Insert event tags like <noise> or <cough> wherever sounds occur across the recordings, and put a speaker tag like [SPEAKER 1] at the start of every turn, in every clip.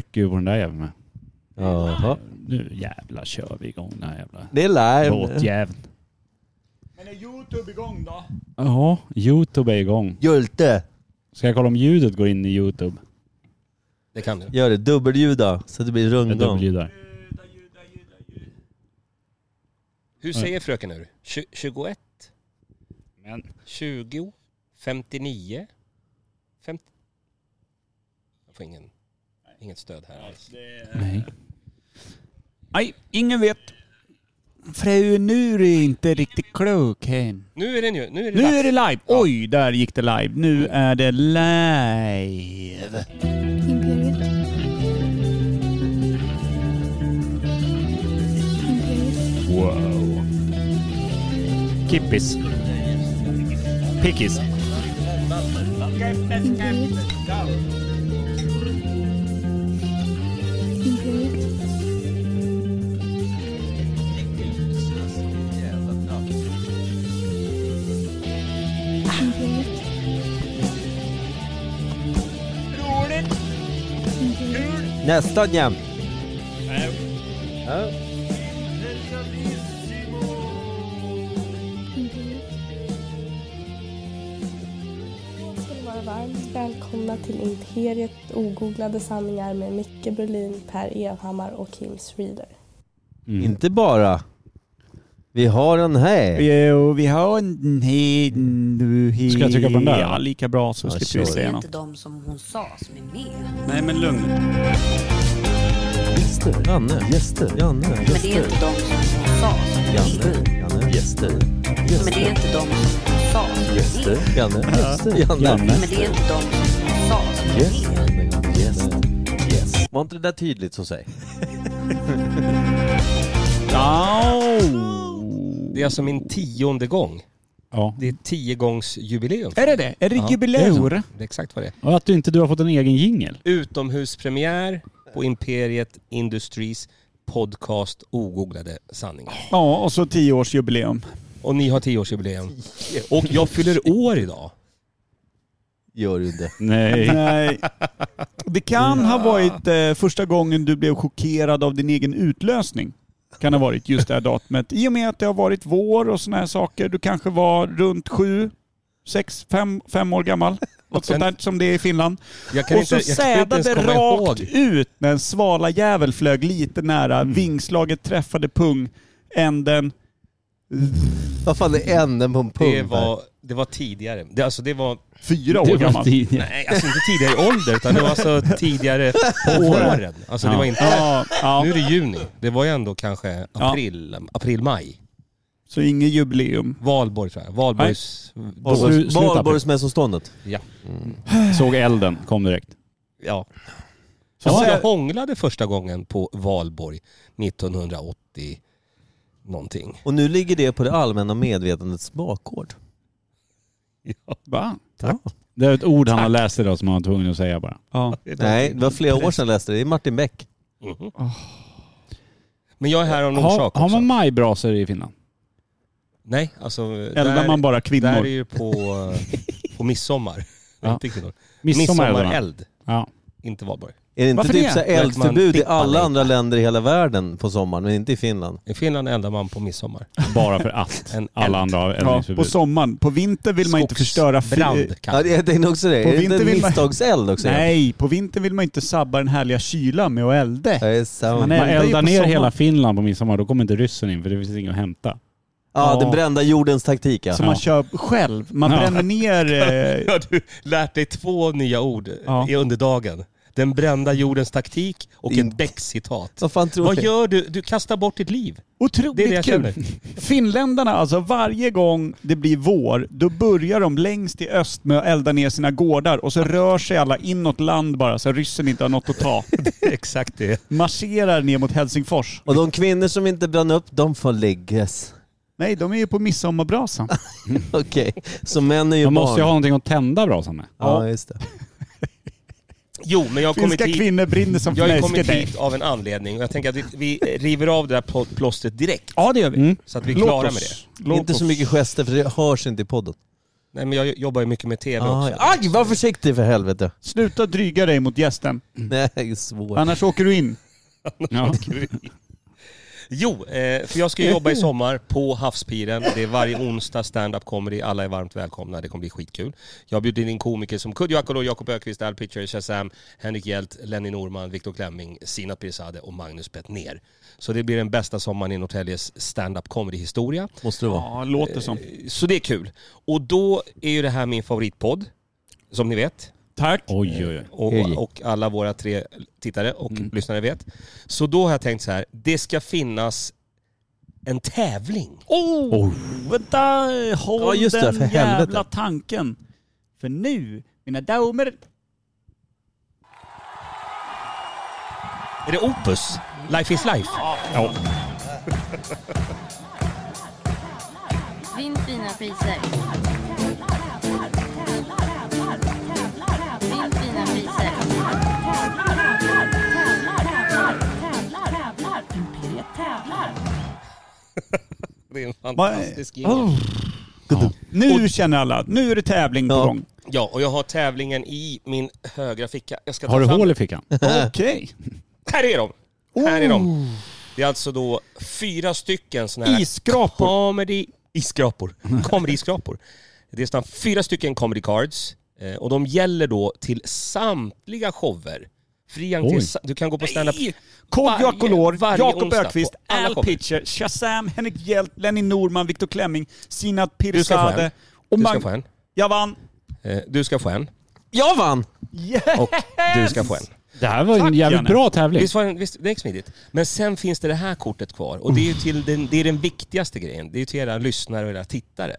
[SPEAKER 1] mycket på den där jäveln med.
[SPEAKER 2] Jaha.
[SPEAKER 1] Nu jävlar kör vi igång den här jävla
[SPEAKER 2] Det är live.
[SPEAKER 1] båtjäveln.
[SPEAKER 3] Men är Youtube igång då?
[SPEAKER 1] Jaha, Youtube är igång.
[SPEAKER 2] Julte.
[SPEAKER 1] Ska jag kolla om ljudet går in i Youtube?
[SPEAKER 4] Det kan du.
[SPEAKER 2] Gör det. Dubbelljuda så det blir
[SPEAKER 1] Jag
[SPEAKER 2] rundgång.
[SPEAKER 1] dubbelljudar.
[SPEAKER 4] Hur säger fröken nu? 21?
[SPEAKER 1] Men
[SPEAKER 4] 20? 59? 50? Jag får ingen, inget stöd här alls.
[SPEAKER 1] nej.
[SPEAKER 3] eh. Nej, ingen vet. Fru, nu är det inte riktigt klok hen.
[SPEAKER 4] Nu är det nu. Nu är det
[SPEAKER 3] Nu
[SPEAKER 4] dags.
[SPEAKER 3] är det live! Oj, där gick det live. Nu är det live.
[SPEAKER 5] Imperiet. Imperiet.
[SPEAKER 1] Wow. Kippis. Pickis.
[SPEAKER 5] Imperiet. Imperiet. Imperiet. Imperiet.
[SPEAKER 2] Nästan jämt.
[SPEAKER 6] ska ni vara varmt välkomna till Imperiet ogooglade sanningar med Micke Berlin, Per Evhammar och Kim Reader.
[SPEAKER 1] Mm.
[SPEAKER 2] Inte bara. Vi har en här.
[SPEAKER 3] Jo, vi har en hid...
[SPEAKER 1] Ska jag trycka på den där?
[SPEAKER 3] Ja, lika bra så
[SPEAKER 2] Ja,
[SPEAKER 3] slipper
[SPEAKER 2] kör.
[SPEAKER 3] vi
[SPEAKER 7] Det
[SPEAKER 3] säga
[SPEAKER 7] är
[SPEAKER 3] något.
[SPEAKER 7] inte de som hon sa som är med.
[SPEAKER 3] Nej, men lugn.
[SPEAKER 2] Gäster. Janne. Gäster. Janne.
[SPEAKER 7] Men det är inte de som hon sa som är med.
[SPEAKER 2] Janne. Janne. Gäster.
[SPEAKER 7] Men det är inte de som hon sa som är med.
[SPEAKER 2] Janne. Gäster. Janne.
[SPEAKER 1] Janne.
[SPEAKER 7] Men det är inte de som hon sa som är med.
[SPEAKER 2] Gäst. Var inte det där tydligt så säg?
[SPEAKER 3] Au!
[SPEAKER 4] Det är alltså min tionde gång.
[SPEAKER 1] Ja.
[SPEAKER 4] Det är tiogångsjubileum.
[SPEAKER 3] Är det det? Är det
[SPEAKER 4] Ja,
[SPEAKER 3] jubileum?
[SPEAKER 4] Det är exakt vad det är.
[SPEAKER 1] Och att du inte du har fått en egen jingel.
[SPEAKER 4] Utomhuspremiär på Imperiet Industries podcast Ogooglade sanningar.
[SPEAKER 3] Ja, och så tioårsjubileum.
[SPEAKER 4] Och ni har tioårsjubileum. Och jag fyller år idag.
[SPEAKER 2] Gör du inte.
[SPEAKER 1] <laughs> Nej.
[SPEAKER 3] Nej. Det kan ha varit eh, första gången du blev chockerad av din egen utlösning. Kan ha varit just det här datumet. I och med att det har varit vår och sådana här saker. Du kanske var runt sju, sex, fem, fem
[SPEAKER 4] <laughs>
[SPEAKER 3] år gammal. Något sånt där som det är i Finland.
[SPEAKER 4] Jag kan
[SPEAKER 3] och
[SPEAKER 4] inte,
[SPEAKER 3] så
[SPEAKER 4] jag kan inte ens
[SPEAKER 3] sädade
[SPEAKER 4] komma ihåg.
[SPEAKER 3] rakt ut när en svala jävel flög lite nära.
[SPEAKER 4] Mm.
[SPEAKER 3] Vingslaget träffade pung, änden.
[SPEAKER 2] Vad fan är änden på en pump?
[SPEAKER 4] Det var, det var tidigare. Det, alltså det var,
[SPEAKER 3] Fyra år
[SPEAKER 1] Det var
[SPEAKER 3] gammal.
[SPEAKER 1] tidigare.
[SPEAKER 4] nej alltså inte tidigare i ålder utan det var alltså tidigare på våren. Alltså det var inte,
[SPEAKER 3] Ja, ja.
[SPEAKER 4] nu är det juni. Det var ju ändå kanske april, april, maj.
[SPEAKER 3] Så inget jubileum.
[SPEAKER 4] Valborg tror jag. Valborgs...
[SPEAKER 1] Valborg-
[SPEAKER 2] Valborgs-
[SPEAKER 1] Sluta,
[SPEAKER 2] Valborgsmässoståndet.
[SPEAKER 4] Ja.
[SPEAKER 1] Såg elden, kom direkt.
[SPEAKER 4] ja.
[SPEAKER 3] Så
[SPEAKER 4] ja,
[SPEAKER 3] sä-
[SPEAKER 4] jag hånglade första gången på valborg 1980 någonting.
[SPEAKER 2] Och nu ligger det på det allmänna medvetandets bakgård.
[SPEAKER 4] Ja.
[SPEAKER 3] Va?
[SPEAKER 1] Det är ett ord han har läst idag som han var tvungen att säga bara.
[SPEAKER 3] Ja.
[SPEAKER 2] Nej, det var flera år sedan jag läste det. Det är Martin Beck.
[SPEAKER 4] Mhm. Men jag är här av en
[SPEAKER 1] Har,
[SPEAKER 4] orsak
[SPEAKER 1] har
[SPEAKER 4] också.
[SPEAKER 1] man majbrasor i Finland?
[SPEAKER 4] Nej, alltså...
[SPEAKER 3] Eldar man bara kvinnor?
[SPEAKER 4] Där är ju på,
[SPEAKER 3] <laughs>
[SPEAKER 4] på midsommar.
[SPEAKER 1] Ja.
[SPEAKER 4] Inte kvinnor.
[SPEAKER 1] Midsommareldarna?
[SPEAKER 4] Midsommareld,
[SPEAKER 1] Ja.
[SPEAKER 4] inte valborg.
[SPEAKER 2] Är det inte
[SPEAKER 3] Varför
[SPEAKER 2] typ
[SPEAKER 3] det?
[SPEAKER 2] så här
[SPEAKER 4] Verkar man
[SPEAKER 2] eldförbud i
[SPEAKER 4] tippa
[SPEAKER 2] alla
[SPEAKER 4] lite?
[SPEAKER 2] andra länder i hela världen på sommaren, men inte i Finland?
[SPEAKER 4] I Finland eldar man på midsommar.
[SPEAKER 1] Bara för att
[SPEAKER 4] En
[SPEAKER 1] alla
[SPEAKER 4] eld.
[SPEAKER 1] andra har
[SPEAKER 3] Ja, på
[SPEAKER 1] eldningsförbud.
[SPEAKER 3] sommaren. På vinter vill man inte förstöra... fri-
[SPEAKER 4] Skogsbrand
[SPEAKER 2] Ja, det-
[SPEAKER 4] kanske.
[SPEAKER 2] jag tänkte också det.
[SPEAKER 3] På
[SPEAKER 2] är det inte en
[SPEAKER 3] vinter vill man-
[SPEAKER 2] misstagseld också?
[SPEAKER 3] Nej, på vintern vill man inte sabba den härliga kylan med att elda.
[SPEAKER 2] Ja, det är sant.
[SPEAKER 3] Man
[SPEAKER 1] Man
[SPEAKER 3] eldar ju
[SPEAKER 1] eldar
[SPEAKER 3] på
[SPEAKER 1] ner
[SPEAKER 3] sommaren.
[SPEAKER 1] hela Finland på midsommar, då kommer inte ryssen in för det finns inget att hämta.
[SPEAKER 2] Ja,
[SPEAKER 3] Ja.
[SPEAKER 2] den brända jordens taktik ja.
[SPEAKER 3] Som man kör själv. Man
[SPEAKER 1] Ja.
[SPEAKER 3] bränner ner... Eh,
[SPEAKER 4] <laughs> Ja, du lärt dig två nya ord
[SPEAKER 3] Ja.
[SPEAKER 4] i under dagen. Den brända jordens taktik och ett Beck-citat.
[SPEAKER 2] Vad fan tror
[SPEAKER 4] Vad
[SPEAKER 2] du?
[SPEAKER 4] gör du? Du kastar bort ditt liv.
[SPEAKER 3] otroligt
[SPEAKER 4] Det är det jag
[SPEAKER 3] kul.
[SPEAKER 4] känner.
[SPEAKER 3] <laughs> Finländarna, alltså varje gång det blir vår, då börjar de längst i öst med att elda ner sina gårdar och så rör sig alla inåt land bara så ryssen inte har något att ta.
[SPEAKER 4] Exakt det.
[SPEAKER 3] Marscherar ner mot Helsingfors.
[SPEAKER 2] Och de kvinnor som inte brann upp, de får läggas.
[SPEAKER 3] Nej, de är ju på midsommarbrasan.
[SPEAKER 2] <laughs> Okej, så män är ju
[SPEAKER 1] Man
[SPEAKER 2] barn.
[SPEAKER 1] måste ju ha någonting att tända brasan med.
[SPEAKER 2] Ja, just det.
[SPEAKER 4] Jo, men jag har kommit
[SPEAKER 3] Finska
[SPEAKER 4] hit.
[SPEAKER 3] kvinnor brinner som
[SPEAKER 4] Jag har ju kommit
[SPEAKER 3] fnäsket.
[SPEAKER 4] hit av en anledning och jag tänker att vi, vi river av det där pl- plåstret direkt.
[SPEAKER 3] Ja, det gör vi.
[SPEAKER 1] Mm.
[SPEAKER 4] Så att vi är klara med det.
[SPEAKER 3] Låt
[SPEAKER 2] inte
[SPEAKER 3] oss.
[SPEAKER 2] så mycket gester för det hörs inte i podden.
[SPEAKER 4] Nej men jag jobbar ju mycket med TV
[SPEAKER 2] Ah,
[SPEAKER 4] också.
[SPEAKER 2] ja. Aj, var försiktig för helvete.
[SPEAKER 3] Sluta dryga dig mot gästen,
[SPEAKER 2] Nej, svår.
[SPEAKER 3] annars åker du in.
[SPEAKER 1] Ja.
[SPEAKER 4] Jo, eh, för jag ska ju jobba i sommar på Havspiren. Det är varje onsdag stand-up comedy. Alla är varmt välkomna. Det kommer bli skitkul. Jag bjuder in komiker som Kudjo Akolo, Jakob Ökvist, Al Pitcher, Shazam, Henrik Hjelt, Lenny Norman, Viktor Klemming, Sina Pirzadeh och Magnus Bettner. Så det blir den bästa sommaren i Norrtäljes stand-up comedy-historia.
[SPEAKER 2] Måste det vara.
[SPEAKER 3] Ja, låter som.
[SPEAKER 4] Så det är kul. Och då är ju det här min favoritpodd, som ni vet.
[SPEAKER 3] Tack.
[SPEAKER 1] Oj, oj, oj.
[SPEAKER 4] Och,
[SPEAKER 2] Hej.
[SPEAKER 4] och alla våra tre tittare och lyssnare vet. Så då har jag tänkt så här, det ska finnas en tävling.
[SPEAKER 3] Oh, Vänta, Eh, håll
[SPEAKER 2] Ja, just det,
[SPEAKER 3] den
[SPEAKER 2] för helvete.
[SPEAKER 3] jävla tanken. För nu, mina damer...
[SPEAKER 4] Är det Opus? Life is life?
[SPEAKER 8] Vinn fina priser. Vinn fina priser.
[SPEAKER 4] Det är en fantastisk
[SPEAKER 3] Va-
[SPEAKER 4] jingle.
[SPEAKER 3] Nu känner alla, nu är det tävling på
[SPEAKER 2] Ja.
[SPEAKER 3] gång.
[SPEAKER 4] Ja, och jag har tävlingen i min högra ficka. Jag ska ta
[SPEAKER 1] Har du
[SPEAKER 4] fram
[SPEAKER 1] hål i
[SPEAKER 4] den.
[SPEAKER 1] fickan?
[SPEAKER 3] Okej.
[SPEAKER 4] Här är de! Här är de. Det är alltså då fyra stycken sådana här...
[SPEAKER 3] Isskrapor.
[SPEAKER 4] Comedy... Isskrapor. Comedy-isskrapor. Det är såna fyra stycken comedy cards. eh, Och de gäller då till samtliga shower. Fri entré.
[SPEAKER 1] Oj.
[SPEAKER 4] sa- Du kan gå på standup...
[SPEAKER 3] Kodjo
[SPEAKER 4] Varje-
[SPEAKER 3] Akolor,
[SPEAKER 4] varje
[SPEAKER 3] Jakob
[SPEAKER 4] onsdag
[SPEAKER 3] Ökvist,
[SPEAKER 4] på alla
[SPEAKER 3] Al
[SPEAKER 4] shower.
[SPEAKER 3] Pitcher, Shazam, Henrik Hjelt, Lenny Norman, Viktor Klemming, Sinat
[SPEAKER 4] Du ska få en.
[SPEAKER 3] Pirzadeh och
[SPEAKER 4] Du ska
[SPEAKER 3] Mag...
[SPEAKER 4] få en.
[SPEAKER 3] Jag vann!
[SPEAKER 4] Eh, Du ska få en.
[SPEAKER 2] Jag vann!
[SPEAKER 4] Och du ska få en.
[SPEAKER 1] Det här var
[SPEAKER 3] Tack,
[SPEAKER 1] en jävligt
[SPEAKER 3] Janne.
[SPEAKER 1] bra tävling.
[SPEAKER 4] Visst var den, visst, det gick smidigt. Men sen finns det det här kortet kvar. Och det är ju till den, det är den viktigaste grejen. Det är ju till era lyssnare och era tittare.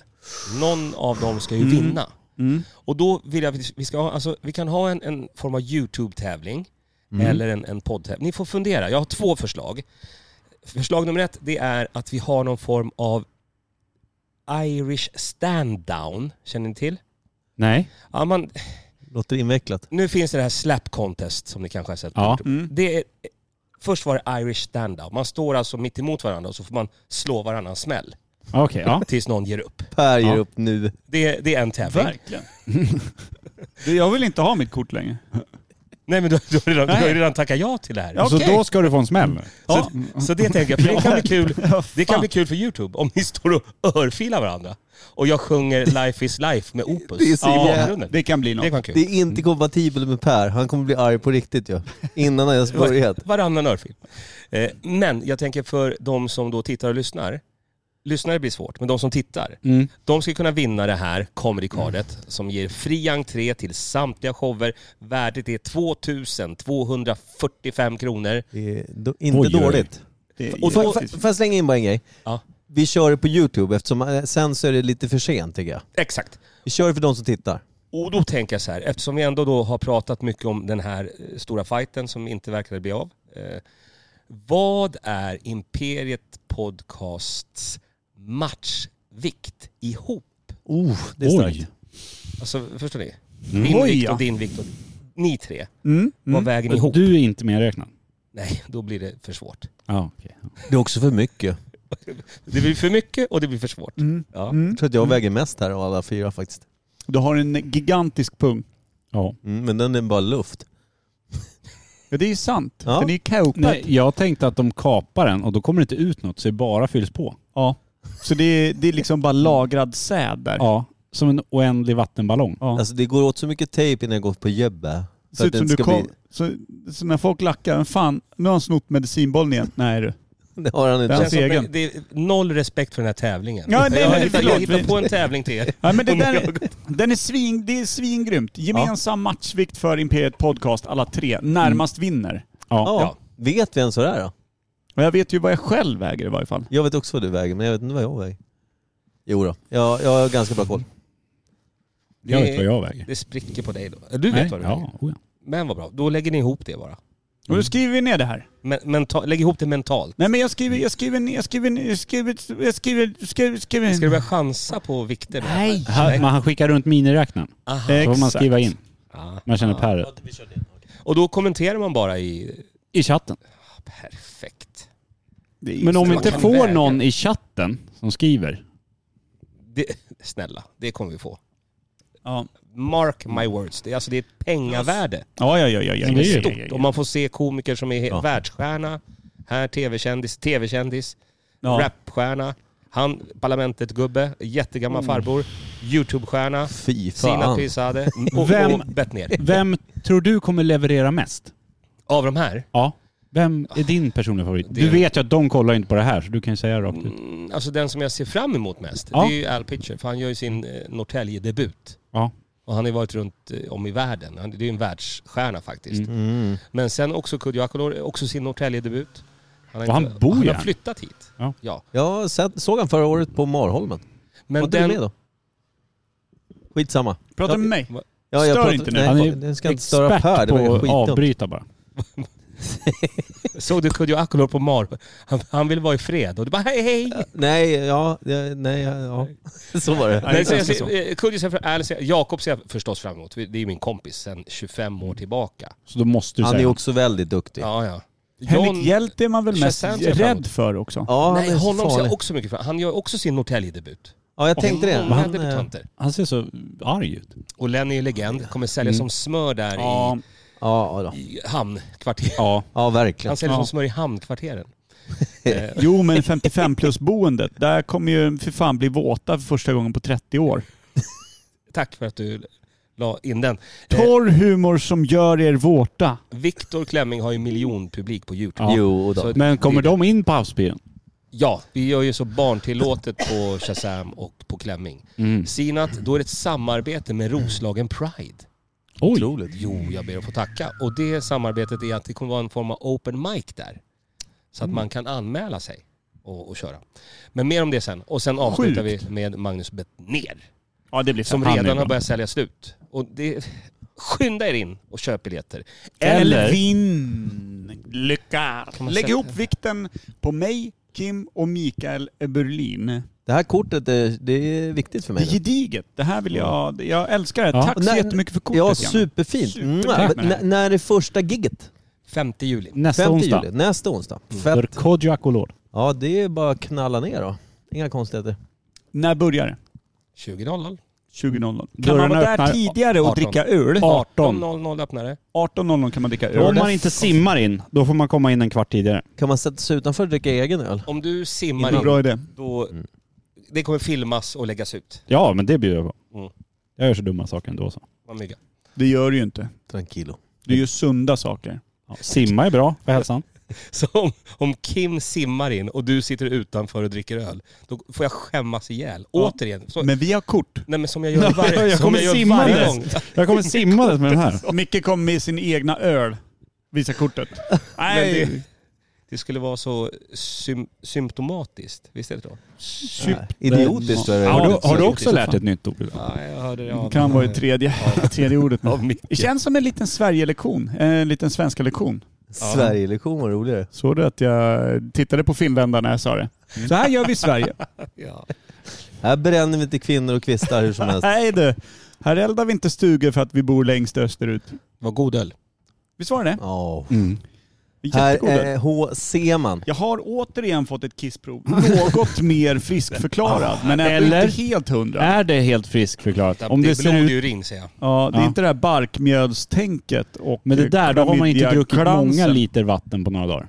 [SPEAKER 4] Någon av dem ska ju vinna. Och då vill jag att vi ska ha, alltså, vi kan ha en, en form av YouTube-tävling. Eller en, en poddtävling. Ni får fundera. Jag har två förslag. Förslag nummer ett, det är att vi har någon form av Irish stand-down. Känner ni till?
[SPEAKER 1] Nej.
[SPEAKER 4] Ja, man,
[SPEAKER 2] Låter invecklat.
[SPEAKER 4] nu finns det det här slap contest som ni kanske har sett på
[SPEAKER 1] Ja.
[SPEAKER 4] Youtube. Det är, först var det Irish stand-up. Man står alltså mitt emot varandra och så får man slå varandra en smäll
[SPEAKER 1] Okej, ja.
[SPEAKER 4] tills någon ger upp.
[SPEAKER 2] Per ger
[SPEAKER 1] Ja.
[SPEAKER 2] upp nu.
[SPEAKER 4] Det, är- det är en tävling.
[SPEAKER 3] Verkligen. Du, jag vill inte ha mitt kort längre.
[SPEAKER 4] Nej men du, du, har redan, du har
[SPEAKER 3] Nej.
[SPEAKER 4] ju redan tackat ja till det här.
[SPEAKER 3] Ja.
[SPEAKER 1] Så
[SPEAKER 3] Okej.
[SPEAKER 1] då ska du få en smäll.
[SPEAKER 4] Så, så det tänker jag, för det kan bli kul.
[SPEAKER 3] Ja,
[SPEAKER 4] Det
[SPEAKER 3] fan.
[SPEAKER 4] kan bli kul för Youtube om ni står och örfilar varandra. Och jag sjunger Life is life med Opus
[SPEAKER 2] Det är så
[SPEAKER 4] i
[SPEAKER 2] jävla-
[SPEAKER 4] bakgrunden.
[SPEAKER 3] Det kan bli något.
[SPEAKER 4] Det kan vara kul.
[SPEAKER 2] Det är inte kompatibelt med Per. Han kommer bli arg på riktigt ju. Innan han <laughs> ens börjat.
[SPEAKER 4] Varannan örfil. Eh, men jag tänker för de som då tittar och lyssnar. Lyssnare blir svårt, men de som tittar. De ska kunna vinna det här comedy cardet som ger fri entré till samtliga shower. Värdet är 2245 kronor.
[SPEAKER 2] Det är do- inte
[SPEAKER 1] Oj, oj, oj.
[SPEAKER 2] dåligt.
[SPEAKER 3] Det är
[SPEAKER 2] Och då,
[SPEAKER 3] faktiskt-
[SPEAKER 2] får jag slänga in bara en grej?
[SPEAKER 4] Ja.
[SPEAKER 2] Vi kör det på Youtube eftersom eh, sen så är det lite för sent tycker jag.
[SPEAKER 4] Exakt.
[SPEAKER 2] Vi kör det för de som tittar.
[SPEAKER 4] Och då tänker jag så här, eftersom vi ändå då har pratat mycket om den här eh, stora fighten som inte verkade bli av. Eh, vad är Imperiet Podcasts matchvikt ihop?
[SPEAKER 2] Oh, det är starkt.
[SPEAKER 1] Oj.
[SPEAKER 4] Alltså förstår ni? Min
[SPEAKER 3] Oj,
[SPEAKER 4] vikt
[SPEAKER 3] ja.
[SPEAKER 4] och din vikt och ni tre.
[SPEAKER 3] Mm.
[SPEAKER 4] Vad väger ni
[SPEAKER 1] Och
[SPEAKER 4] ihop?
[SPEAKER 1] du är inte medräknad?
[SPEAKER 4] Nej, då blir det för svårt.
[SPEAKER 1] Ja, okej.
[SPEAKER 2] Det är också för mycket.
[SPEAKER 4] Det blir för mycket och det blir för svårt. Ja.
[SPEAKER 2] Jag tror att jag väger mest här av alla fyra faktiskt.
[SPEAKER 3] Du har en gigantisk pung.
[SPEAKER 1] Ja.
[SPEAKER 2] Mm, men den är bara luft.
[SPEAKER 3] Ja, det är ju sant.
[SPEAKER 2] Ja.
[SPEAKER 3] Den är ju kapad.
[SPEAKER 1] Nej, jag tänkte att de kapar den och då kommer det inte ut något så det bara fylls på.
[SPEAKER 3] Ja. Så det är, det är liksom bara lagrad säd där.
[SPEAKER 1] Ja, som en oändlig vattenballong.
[SPEAKER 3] Ja.
[SPEAKER 2] Alltså det går åt så mycket tejp innan jag går på jobba.
[SPEAKER 3] Ser ut som du kom,
[SPEAKER 2] bli...
[SPEAKER 3] så, så när folk lackar, "Men fan, nu har han snott medicinbollen igen. Nej du.
[SPEAKER 2] <laughs> Det har han
[SPEAKER 3] Ja.
[SPEAKER 2] inte.
[SPEAKER 4] Känns som
[SPEAKER 3] egen.
[SPEAKER 4] att det är noll respekt för den här tävlingen.
[SPEAKER 3] Ja, nej,
[SPEAKER 4] jag,
[SPEAKER 3] nej,
[SPEAKER 4] hittar,
[SPEAKER 3] förlåt.
[SPEAKER 4] jag hittar på en tävling till er.
[SPEAKER 3] Nej, men det
[SPEAKER 4] Och när
[SPEAKER 3] där,
[SPEAKER 4] jag-
[SPEAKER 3] är- den är, svin, det är svingrymt. Gemensam matchvikt för Imperiet Podcast, alla tre. Närmast
[SPEAKER 1] Mm.
[SPEAKER 3] vinner.
[SPEAKER 1] Ja.
[SPEAKER 2] Ja. Vet vi ens vad det är då?
[SPEAKER 3] Och jag vet ju vad jag själv väger i varje fall.
[SPEAKER 2] Jag vet också vad du väger men jag vet inte vad jag väger. Jo då. Jag, jag har ganska bra koll.
[SPEAKER 1] Jag vet vad jag väger.
[SPEAKER 4] Det spricker på dig då. Du vet
[SPEAKER 1] Nej,
[SPEAKER 4] vad du väger.
[SPEAKER 1] ja, oh ja.
[SPEAKER 4] Men vad bra, då lägger ni ihop det bara.
[SPEAKER 3] Och
[SPEAKER 1] Mm.
[SPEAKER 3] nu skriver vi ner det här.
[SPEAKER 4] Men, menta- lägg ihop det mentalt.
[SPEAKER 3] Nej men jag skriver, jag skriver, ner- jag skriver, ner- jag skriver, jag skriver, jag skriver, jag skriver.
[SPEAKER 4] Ska du börja chansa på vikter?
[SPEAKER 1] Nej. Men han skickar runt miniräknaren.
[SPEAKER 4] Aha.
[SPEAKER 1] Då får man
[SPEAKER 3] Exakt.
[SPEAKER 1] skriva in. Man känner Per
[SPEAKER 4] Och då kommenterar man bara i...
[SPEAKER 1] i chatten.
[SPEAKER 4] Perfekt.
[SPEAKER 3] Det är ju
[SPEAKER 1] Men om
[SPEAKER 3] så.
[SPEAKER 1] vi inte
[SPEAKER 4] Man
[SPEAKER 1] får
[SPEAKER 4] väger.
[SPEAKER 1] någon i chatten som skriver.
[SPEAKER 4] <laughs> Det, snälla, det kommer vi få.
[SPEAKER 3] Ja,
[SPEAKER 4] Mark my words. Det är, alltså, det är ett pengavärde
[SPEAKER 3] ja, ja. ja, ja, ja,
[SPEAKER 4] som
[SPEAKER 3] ja,
[SPEAKER 4] är
[SPEAKER 1] det är-
[SPEAKER 3] ja, ja,
[SPEAKER 4] stort.
[SPEAKER 3] ja,
[SPEAKER 4] Och man får se komiker som är he-
[SPEAKER 2] Ja.
[SPEAKER 4] världsstjärna. Här tv-kändis, tv-kändis,
[SPEAKER 3] ja.
[SPEAKER 4] rapstjärna. Han, Parlamentet-gubbe, jättegammal farbror, YouTube-stjärna,
[SPEAKER 2] Fy
[SPEAKER 4] Sina
[SPEAKER 2] fan.
[SPEAKER 4] Pizzade och,
[SPEAKER 1] Vem-
[SPEAKER 4] och Bettner.
[SPEAKER 1] Vem tror du kommer leverera mest?
[SPEAKER 4] Av de här?
[SPEAKER 1] Ja. Vem är din personliga favorit?
[SPEAKER 4] Det-
[SPEAKER 1] Du vet ju att de kollar inte på det här så du kan ju säga rakt ut.
[SPEAKER 4] Mm, alltså den som jag ser fram emot mest,
[SPEAKER 1] Ja.
[SPEAKER 4] det är ju Al Pitcher. För han gör ju sin eh, Norrtälje-debut.
[SPEAKER 1] Ja.
[SPEAKER 4] Och han har ju varit runt eh, om i världen. Han, det är ju en världsstjärna faktiskt.
[SPEAKER 2] Mm.
[SPEAKER 4] Men sen också Kodjo Akolor, också sin Norrtälje-debut. Han, har
[SPEAKER 1] Och han
[SPEAKER 4] inte-
[SPEAKER 1] bor ju
[SPEAKER 4] han har
[SPEAKER 1] här.
[SPEAKER 4] flyttat hit.
[SPEAKER 1] Ja.
[SPEAKER 2] Jag sett- såg han förra året på Marholmen.
[SPEAKER 4] Men
[SPEAKER 2] Var inte du med då? Skitsamma.
[SPEAKER 3] Pratar du med mig?
[SPEAKER 2] Ja,
[SPEAKER 3] Stör
[SPEAKER 2] pratar-
[SPEAKER 3] inte nu.
[SPEAKER 1] Han är
[SPEAKER 2] Nej,
[SPEAKER 1] ju
[SPEAKER 2] jag jag ska inte störa Per. Det var ju
[SPEAKER 1] på att
[SPEAKER 2] skitdumt.
[SPEAKER 1] avbryta bara.
[SPEAKER 4] <laughs> såg du Kodjo Akolor på Mar? Han, han vill vara i fred och du bara hej hej!
[SPEAKER 2] Nej, ja, ja, nej, ja. <laughs> ja. Så var det.
[SPEAKER 3] Nej,
[SPEAKER 4] Men så,
[SPEAKER 3] inte
[SPEAKER 4] jag
[SPEAKER 3] så.
[SPEAKER 4] ser, eh, Kodjo ser, fram- Al ser, Jakob ser jag förstås fram emot. Det är ju min kompis sedan 25 år tillbaka.
[SPEAKER 1] Så då måste du
[SPEAKER 2] Han är
[SPEAKER 1] säga.
[SPEAKER 2] också väldigt duktig.
[SPEAKER 4] Ja, ja.
[SPEAKER 3] Henrik
[SPEAKER 4] John-
[SPEAKER 3] Hjälte är man väl mest
[SPEAKER 4] Shazam ser jag fram emot.
[SPEAKER 3] rädd för också?
[SPEAKER 2] Ja, han
[SPEAKER 4] Nej,
[SPEAKER 2] är
[SPEAKER 4] honom ser
[SPEAKER 2] farlig.
[SPEAKER 4] jag också mycket fram Han gör också sin Norrtälje-debut.
[SPEAKER 2] Ja, jag tänkte det.
[SPEAKER 4] Många
[SPEAKER 2] Han, eh,
[SPEAKER 4] debutanter.
[SPEAKER 1] Han ser så arg ut.
[SPEAKER 4] Och Lenny är legend, kommer sälja som smör där
[SPEAKER 3] Ja,
[SPEAKER 2] ja, då.
[SPEAKER 4] i, i hamnkvarteren.
[SPEAKER 1] Ja.
[SPEAKER 2] ja, verkligen.
[SPEAKER 4] <laughs> Han säljer
[SPEAKER 3] Ja.
[SPEAKER 4] som smör i hamnkvarteren. Eh,
[SPEAKER 3] Jo men 55 plus boendet, där kommer ju för fan bli våta för första gången på 30 år.
[SPEAKER 4] tack för att du la in den. Eh,
[SPEAKER 3] Torr humor som gör er våta.
[SPEAKER 4] Viktor Klemming har ju miljonpublik på Youtube.
[SPEAKER 1] Ja.
[SPEAKER 2] Jo då.
[SPEAKER 4] Så-
[SPEAKER 1] Men kommer
[SPEAKER 4] det-
[SPEAKER 1] de in på havsbyrån?
[SPEAKER 4] Ja, vi gör ju så barntillåtet på Shazam och på Klemming.
[SPEAKER 1] Mm.
[SPEAKER 4] Sinat, då är det ett samarbete med Roslagen Pride.
[SPEAKER 1] Oj!
[SPEAKER 4] Jo, jag ber att få tacka. Och det samarbetet är att det kommer vara en form av open mic där. Så att
[SPEAKER 1] Mm.
[SPEAKER 4] man kan anmäla sig och, och köra. Men mer om det sen. Och sen avslutar vi med Magnus Bettner.
[SPEAKER 3] Ja det blir
[SPEAKER 4] Som
[SPEAKER 3] han är
[SPEAKER 4] redan
[SPEAKER 3] bra.
[SPEAKER 4] har börjat sälja slut. Och det, skynda er in och köp biljetter.
[SPEAKER 3] Elvin Lyckar.
[SPEAKER 4] man
[SPEAKER 3] Lägg
[SPEAKER 4] sätta-
[SPEAKER 3] ihop vikten på mig, Kim och Mikael Berlin.
[SPEAKER 2] Det här kortet är, det är viktigt för
[SPEAKER 3] Det
[SPEAKER 2] mig.
[SPEAKER 3] är gediget. Det här vill
[SPEAKER 4] Mm.
[SPEAKER 3] jag... Jag älskar det.
[SPEAKER 1] Ja.
[SPEAKER 3] Tack så
[SPEAKER 2] När-
[SPEAKER 3] jättemycket för kortet.
[SPEAKER 2] Ja,
[SPEAKER 3] Jan.
[SPEAKER 2] superfint. Mm.
[SPEAKER 3] Supertack.
[SPEAKER 2] Men n- När är första gigget?
[SPEAKER 4] 5 juli.
[SPEAKER 1] Nästa
[SPEAKER 2] 5
[SPEAKER 1] onsdag.
[SPEAKER 2] juli. Nästa onsdag.
[SPEAKER 3] Mm.
[SPEAKER 1] För
[SPEAKER 2] Fett.
[SPEAKER 1] Kodjo Akolor.
[SPEAKER 2] Ja, det är bara att knalla ner då. Inga konstigheter.
[SPEAKER 3] När börjar det?
[SPEAKER 4] 20.00.
[SPEAKER 3] 20.00. Kan
[SPEAKER 1] Dörrarna
[SPEAKER 3] man vara där
[SPEAKER 1] öppnar-
[SPEAKER 3] tidigare och
[SPEAKER 4] 18.
[SPEAKER 3] dricka öl?
[SPEAKER 1] 18.
[SPEAKER 4] 18.00 öppnar det.
[SPEAKER 3] 18.00 kan man dricka öl.
[SPEAKER 1] Om man inte simmar in, då får man komma in en kvart tidigare.
[SPEAKER 2] Kan man sätta sig utanför och dricka egen öl?
[SPEAKER 4] Om du
[SPEAKER 3] Det
[SPEAKER 4] simmar
[SPEAKER 3] är en
[SPEAKER 4] in,
[SPEAKER 3] bra idé.
[SPEAKER 4] då...
[SPEAKER 2] Mm.
[SPEAKER 4] Det kommer filmas och läggas ut.
[SPEAKER 1] Ja, men det bjuder jag på.
[SPEAKER 4] Mm.
[SPEAKER 1] Jag gör så dumma saker ändå så.
[SPEAKER 4] Vad mygga. <laughs>
[SPEAKER 3] Det gör du ju inte.
[SPEAKER 2] Tranquilo.
[SPEAKER 3] Du gör sunda saker.
[SPEAKER 1] Ja, simma är bra för hälsan.
[SPEAKER 4] Så om, om Kim simmar in och du sitter utanför och dricker öl, då får jag skämmas ihjäl. Återigen. Så,
[SPEAKER 3] Men vi har kort.
[SPEAKER 4] nej men som jag gör
[SPEAKER 1] Ja,
[SPEAKER 4] varje,
[SPEAKER 1] <laughs> jag
[SPEAKER 4] som
[SPEAKER 1] kommer
[SPEAKER 4] jag gör
[SPEAKER 1] simma
[SPEAKER 4] varje
[SPEAKER 1] där.
[SPEAKER 4] gång. <laughs>
[SPEAKER 1] Jag kommer simma med den här.
[SPEAKER 3] <laughs> Micke kom med sin egna öl. Visa kortet. Nej.
[SPEAKER 4] <laughs> Men Det skulle vara så sym, symptomatiskt. Visst är det så?
[SPEAKER 2] Idiotiskt är det.
[SPEAKER 1] Har du, har du
[SPEAKER 4] Idiotiskt.
[SPEAKER 1] också lärt dig ett nytt ord?
[SPEAKER 4] Ja, jag hörde det av...
[SPEAKER 3] Det kan vara i tredje, <laughs> tredje ordet.
[SPEAKER 4] av
[SPEAKER 3] nu.
[SPEAKER 4] Micke.
[SPEAKER 3] Det känns som en liten Sverige-lektion. En liten svenska lektion.
[SPEAKER 2] Sverigelektion var roligare.
[SPEAKER 3] Såg du att jag tittade på finländarna när jag sa det?
[SPEAKER 4] Mm.
[SPEAKER 3] Så här gör vi
[SPEAKER 4] <laughs>
[SPEAKER 3] i Sverige.
[SPEAKER 4] Ja.
[SPEAKER 2] Här bränner vi inte kvinnor och kvistar hur som
[SPEAKER 3] <laughs>
[SPEAKER 2] helst.
[SPEAKER 3] Nej du, här eldar vi inte stugor för att vi bor längst österut.
[SPEAKER 4] Vad god öl.
[SPEAKER 3] Visst var det
[SPEAKER 2] Ja.
[SPEAKER 1] Mm.
[SPEAKER 3] det?
[SPEAKER 2] Här
[SPEAKER 3] Jättegod öl.
[SPEAKER 2] eh, H- ser man.
[SPEAKER 3] Jag har återigen fått ett kissprov.
[SPEAKER 4] <laughs>
[SPEAKER 3] Något mer friskförklarad, men ändå
[SPEAKER 1] Eller?
[SPEAKER 3] inte helt hundra.
[SPEAKER 1] Är det helt friskförklarat? Om
[SPEAKER 4] det,
[SPEAKER 1] det
[SPEAKER 4] är
[SPEAKER 1] ser
[SPEAKER 4] blod
[SPEAKER 1] ut...
[SPEAKER 4] i urin säger jag.
[SPEAKER 3] Ja, det är
[SPEAKER 1] Ja.
[SPEAKER 3] inte det här barkmjölstänket och
[SPEAKER 1] Men det där, då har man inte druckit många
[SPEAKER 3] klamydiaklamsen.
[SPEAKER 1] liter vatten på några dagar.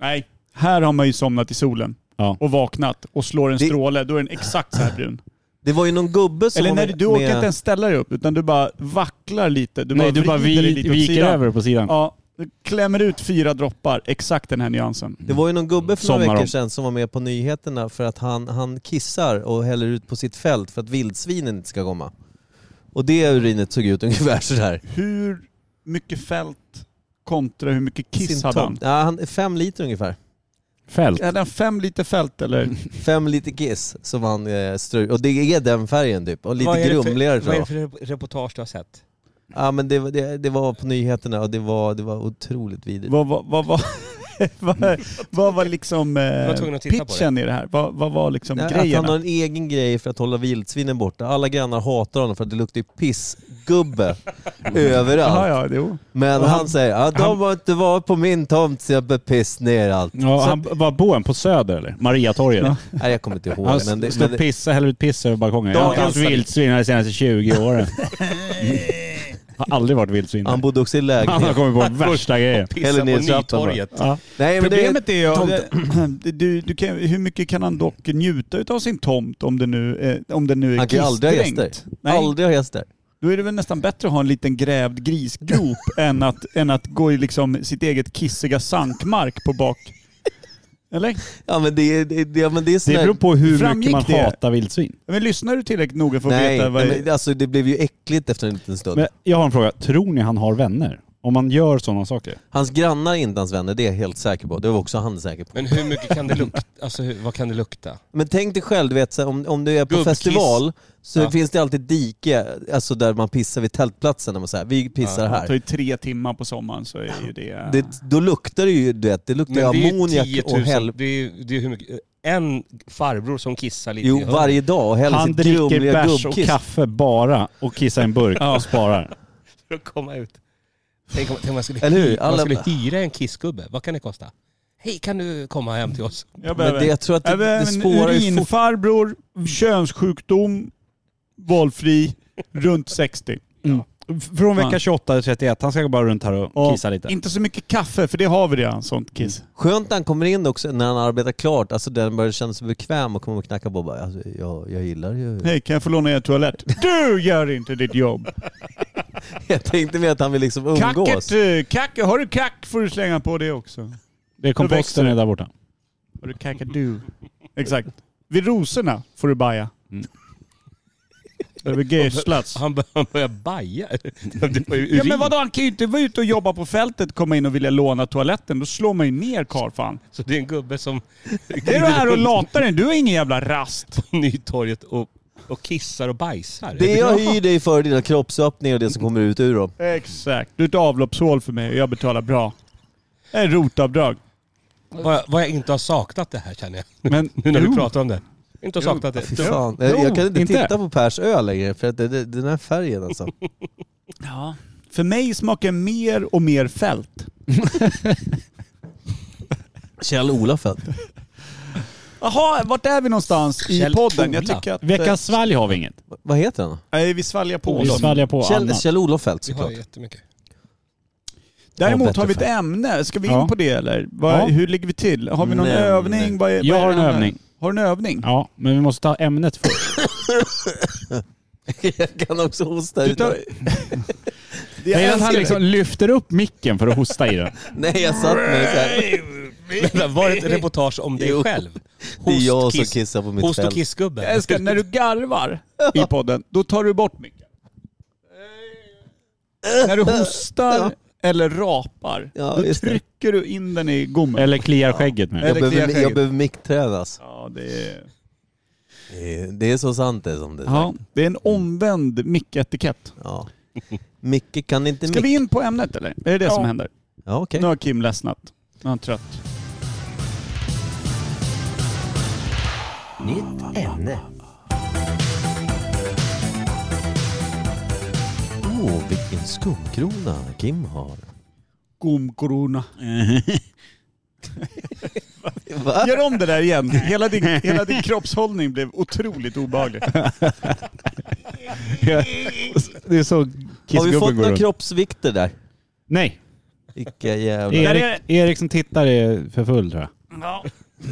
[SPEAKER 3] Nej, här har man ju somnat i solen
[SPEAKER 1] Ja.
[SPEAKER 3] och vaknat och slår en
[SPEAKER 2] Det-
[SPEAKER 3] stråle, då är den exakt så här brun.
[SPEAKER 2] Det var ju någon gubbe som
[SPEAKER 3] Eller
[SPEAKER 2] var
[SPEAKER 3] när du,
[SPEAKER 2] med-
[SPEAKER 3] du orkar
[SPEAKER 2] med-
[SPEAKER 3] inte ens ställa dig upp, utan du bara vacklar lite. Du
[SPEAKER 1] Nej, du bara
[SPEAKER 3] vrider dig
[SPEAKER 1] vi,
[SPEAKER 3] lite åt
[SPEAKER 1] viker
[SPEAKER 3] sidan.
[SPEAKER 1] över på sidan.
[SPEAKER 3] Ja, du klämmer ut fyra droppar, exakt den här nyansen.
[SPEAKER 2] Det var ju någon gubbe för några
[SPEAKER 1] Somnar
[SPEAKER 2] veckor
[SPEAKER 1] om.
[SPEAKER 2] sedan som var med på nyheterna för att han, han kissar och häller ut på sitt fält för att vildsvinen inte ska komma. Och det urinet såg ut ungefär sådär.
[SPEAKER 3] Hur mycket fält kontra hur mycket kiss
[SPEAKER 2] Sin
[SPEAKER 3] hade
[SPEAKER 2] tom-
[SPEAKER 3] han?
[SPEAKER 2] Ja, han? Fem liter ungefär.
[SPEAKER 1] Fält.
[SPEAKER 3] Hade han fem liter fält <laughs> eller?
[SPEAKER 2] Fem liter kiss som han eh, strö... Och det är den färgen typ. Och
[SPEAKER 4] Vad
[SPEAKER 2] lite
[SPEAKER 4] är det för-
[SPEAKER 2] grumligare tror
[SPEAKER 4] Vad är
[SPEAKER 2] jag.
[SPEAKER 4] det för reportage du har sett?
[SPEAKER 2] Ja men det, var- det, det var på nyheterna och det var, det var otroligt vidrigt.
[SPEAKER 3] vad, vad, vad, vad, <laughs>
[SPEAKER 2] Mm.
[SPEAKER 3] vad, vad var liksom eh,
[SPEAKER 4] var tvungen att titta på
[SPEAKER 3] pitchen i det här? Vad, vad var liksom
[SPEAKER 2] Att han
[SPEAKER 3] grejerna?
[SPEAKER 2] har en egen grej för att hålla vildsvinen borta. Alla grannar hatar honom för att det luktar ju pissgubbe överallt.
[SPEAKER 3] Jaha, ja, jo.
[SPEAKER 2] Men
[SPEAKER 3] Och
[SPEAKER 2] han,
[SPEAKER 3] han-
[SPEAKER 2] säger att de
[SPEAKER 3] han-
[SPEAKER 2] har inte varit på min tomt så jag bör piss ner allt.
[SPEAKER 1] Ja,
[SPEAKER 2] Så
[SPEAKER 1] han var bor han på Söder eller? Mariatorget?
[SPEAKER 2] Nej jag kommer inte ihåg.
[SPEAKER 1] Han
[SPEAKER 2] men det,
[SPEAKER 1] står
[SPEAKER 2] men
[SPEAKER 1] och
[SPEAKER 2] det,
[SPEAKER 1] pissar, häller ut piss över balkongen. Jag har inte
[SPEAKER 2] Dagens-
[SPEAKER 1] haft vildsvin här de senaste 20 åren. har aldrig varit vildsvin.
[SPEAKER 2] han bodde också i
[SPEAKER 1] Han har
[SPEAKER 2] lägenhet.
[SPEAKER 1] kommit på värsta grejen.
[SPEAKER 2] Eller
[SPEAKER 4] Pissa
[SPEAKER 2] ner
[SPEAKER 4] på
[SPEAKER 2] i trappan bara.
[SPEAKER 4] Nytorget.
[SPEAKER 1] Ja.
[SPEAKER 2] Nej, men det-
[SPEAKER 3] Problemet är ju,
[SPEAKER 2] Tomte-
[SPEAKER 3] det- <clears throat> du, du kan, hur mycket kan han dock njuta av sin tomt om det nu, eh, om det nu är
[SPEAKER 2] Han kan ju aldrig ha gäster.
[SPEAKER 3] kissdränkt? Nej,
[SPEAKER 2] Aldrig ha gäster.
[SPEAKER 3] då är det väl nästan bättre att ha en liten grävd grisgrop
[SPEAKER 2] <laughs>
[SPEAKER 3] än, att, än att gå i liksom sitt eget kissiga sankmark på bak... Eller?
[SPEAKER 2] Ja men det, är- det, det, ja, men det är sån
[SPEAKER 1] Det
[SPEAKER 2] här-
[SPEAKER 1] beror på hur mycket
[SPEAKER 3] Framgick
[SPEAKER 1] man
[SPEAKER 3] det?
[SPEAKER 1] hatar vildsvin.
[SPEAKER 3] Men lyssnar du tillräckligt noga för att
[SPEAKER 2] Nej,
[SPEAKER 3] veta vad...
[SPEAKER 2] nej men, alltså det blev ju äckligt efter en liten stund.
[SPEAKER 1] Men jag har en fråga. Tror ni han har vänner? Om man gör sådana saker?
[SPEAKER 2] Hans grannar är inte hans vänner, det är jag helt säker på. Det var också han säker på.
[SPEAKER 4] Men hur mycket kan det lukta? Alltså hur, vad kan det lukta?
[SPEAKER 2] Men tänk dig själv, du vet, så här, om, om du är på
[SPEAKER 4] Gubbkiss.
[SPEAKER 2] festival så
[SPEAKER 4] Ja.
[SPEAKER 2] finns det alltid dike alltså där man pissar vid tältplatsen. När man säger vi pissar
[SPEAKER 3] Det
[SPEAKER 2] här.
[SPEAKER 3] tar ju tre timmar på sommaren så är ju det...
[SPEAKER 2] Det, då luktar det ju, du vet, det luktar
[SPEAKER 4] Men det
[SPEAKER 2] ju
[SPEAKER 4] är ju
[SPEAKER 2] ammoniak
[SPEAKER 4] 10
[SPEAKER 2] och
[SPEAKER 4] 000.
[SPEAKER 2] helvete.
[SPEAKER 4] Det är, ju- det är hur mycket? En farbror som kissar lite i
[SPEAKER 2] Jo,
[SPEAKER 4] hörnet.
[SPEAKER 2] varje dag och häller
[SPEAKER 1] Han
[SPEAKER 2] sitt
[SPEAKER 1] dricker
[SPEAKER 2] grumliga
[SPEAKER 1] bärs och
[SPEAKER 2] gubbkiss.
[SPEAKER 1] kaffe bara och kissar i en burk och sparar.
[SPEAKER 4] för att komma ut. Tänk om, tänk om man, skulle
[SPEAKER 2] Eller hur?
[SPEAKER 4] hyra,
[SPEAKER 2] Alla-
[SPEAKER 4] man skulle hyra en kissgubbe. Vad kan det kosta? Hej, kan du komma hem till oss?
[SPEAKER 3] jag
[SPEAKER 2] Men
[SPEAKER 3] behöver...
[SPEAKER 2] det, jag tror att Typ, det, det
[SPEAKER 3] Även
[SPEAKER 2] spårar ju fort.
[SPEAKER 3] urinfarbror, könssjukdom, valfri, runt 60.
[SPEAKER 1] F- Från
[SPEAKER 3] Fan.
[SPEAKER 1] vecka 28 till 31. Han ska bara runt här och
[SPEAKER 3] Och
[SPEAKER 1] kissa lite.
[SPEAKER 3] Inte så mycket kaffe, för det har vi redan, sånt kiss.
[SPEAKER 2] Skönt när han kommer in också, när han arbetar klart, alltså den börjar känna sig bekväm och kommer och knacka på och bara, alltså, jag, jag gillar ju...
[SPEAKER 3] Hej, kan jag få låna er toalett? Du gör inte ditt jobb!
[SPEAKER 2] <laughs> Jag tänkte mer att han vill liksom umgås.
[SPEAKER 3] Kacket, eh, kack, har du kack får du slänga på det också.
[SPEAKER 1] Det är
[SPEAKER 3] växer
[SPEAKER 1] komposten
[SPEAKER 3] det.
[SPEAKER 1] är där borta.
[SPEAKER 3] Har du kakadu? Exakt. Vid rosorna får du baja.
[SPEAKER 1] Mm.
[SPEAKER 3] Över Gerslats.
[SPEAKER 4] Han, bör, han börjar baja. <laughs> Det var ju
[SPEAKER 3] Ja
[SPEAKER 4] urin.
[SPEAKER 3] men vadå, han kan ju inte vara ute och jobba på fältet, komma in och vilja låna toaletten. Då slår man ju ner karlfan.
[SPEAKER 4] Så det är en
[SPEAKER 2] <laughs>
[SPEAKER 4] gubbe som
[SPEAKER 3] Det är du här och latar dig. Du har ingen jävla rast.
[SPEAKER 4] på Nytorget och, och kissar och bajsar.
[SPEAKER 2] Det jag hyr dig för är dina kroppsöppningar och det som kommer ut ur dem.
[SPEAKER 3] Exakt. Du är ett avloppshål för mig och jag betalar bra. Det är rotavdrag.
[SPEAKER 4] Vad, jag- vad jag inte har saknat det här känner jag.
[SPEAKER 1] Men
[SPEAKER 4] Nu när
[SPEAKER 1] Jo.
[SPEAKER 4] du pratar om det. Inte har saknat det.
[SPEAKER 2] Fy fan. Jag, jag kan inte,
[SPEAKER 1] inte.
[SPEAKER 2] titta på Pers öl längre för att det, det, den här färgen alltså.
[SPEAKER 3] Ja. För mig smakar mer och mer fält.
[SPEAKER 2] Kjell-Ola Fält.
[SPEAKER 3] Jaha, vart är vi någonstans i
[SPEAKER 4] Kjell
[SPEAKER 3] podden? Jag
[SPEAKER 4] Ola.
[SPEAKER 3] tycker att... eh,
[SPEAKER 1] veckans svalg har vi inget.
[SPEAKER 2] Vad heter han?
[SPEAKER 3] Nej, vi svaljar på
[SPEAKER 1] Vi
[SPEAKER 3] oss.
[SPEAKER 1] svalgar på
[SPEAKER 2] Kjell,
[SPEAKER 1] annat.
[SPEAKER 2] Kjell-Olof Fält
[SPEAKER 4] Vi har
[SPEAKER 2] såklart.
[SPEAKER 4] ju jättemycket.
[SPEAKER 3] Däremot har vi ett
[SPEAKER 2] bättre
[SPEAKER 3] ämne. Ska vi in
[SPEAKER 1] Ja.
[SPEAKER 3] på det eller? Vad,
[SPEAKER 1] Ja.
[SPEAKER 3] Hur ligger vi till? Har vi någon
[SPEAKER 2] Nej,
[SPEAKER 3] övning?
[SPEAKER 2] nej.
[SPEAKER 3] Vad är- vad
[SPEAKER 1] Jag
[SPEAKER 3] är
[SPEAKER 1] har en
[SPEAKER 3] det här?
[SPEAKER 1] övning.
[SPEAKER 3] Har du en övning?
[SPEAKER 1] Ja, men vi måste ta ämnet
[SPEAKER 3] <laughs>
[SPEAKER 1] först.
[SPEAKER 2] <laughs> Jag kan också hosta
[SPEAKER 3] Du
[SPEAKER 2] ut.
[SPEAKER 3] tar... det
[SPEAKER 1] Det är att
[SPEAKER 3] älskar
[SPEAKER 1] han
[SPEAKER 3] det.
[SPEAKER 1] liksom lyfter upp micken för att hosta i den.
[SPEAKER 2] Nej jag satt mig såhär.
[SPEAKER 4] Vänta, var det ett reportage om dig
[SPEAKER 2] Jo.
[SPEAKER 4] själv?
[SPEAKER 2] Det är jag
[SPEAKER 4] Host,
[SPEAKER 2] som
[SPEAKER 4] kiss-
[SPEAKER 2] kissar på mitt
[SPEAKER 4] Host och
[SPEAKER 2] fält.
[SPEAKER 4] kissgubben.
[SPEAKER 3] Jag älskar när du garvar i podden, då tar du bort micken. När du hostar eller rapar,
[SPEAKER 2] Ja,
[SPEAKER 3] då
[SPEAKER 2] just det.
[SPEAKER 3] trycker du in den i gommen.
[SPEAKER 1] Eller kliar skägget med.
[SPEAKER 2] Jag
[SPEAKER 3] Eller kliar
[SPEAKER 2] behöver,
[SPEAKER 3] skägget.
[SPEAKER 2] jag behöver micktränas.
[SPEAKER 3] Ja, det, är,
[SPEAKER 2] Det är- Det är så sant det är som det är
[SPEAKER 3] ja,
[SPEAKER 2] sagt.
[SPEAKER 3] det är en omvänd micketikett.
[SPEAKER 2] Ja. Micke kan inte
[SPEAKER 3] Ska
[SPEAKER 2] mick...
[SPEAKER 3] vi in på ämnet eller? Är det det som händer?
[SPEAKER 2] Ja okej.
[SPEAKER 3] Nu har Kim ledsnat. Nu är han trött.
[SPEAKER 2] Åh vilken skumkrona Kim har.
[SPEAKER 3] Gomkrona.
[SPEAKER 2] Va?
[SPEAKER 3] Gör om det där <laughs> igen. Hela din, hela din kroppshållning blev
[SPEAKER 1] <laughs>
[SPEAKER 3] otroligt obehaglig.
[SPEAKER 1] <laughs> Det är så
[SPEAKER 2] Har vi fått
[SPEAKER 1] kissgubben går
[SPEAKER 2] några
[SPEAKER 1] runt.
[SPEAKER 2] kroppsvikter där?
[SPEAKER 1] Nej.
[SPEAKER 2] Vilka jävla...
[SPEAKER 1] Erik, Erik som tittar är för full tror jag.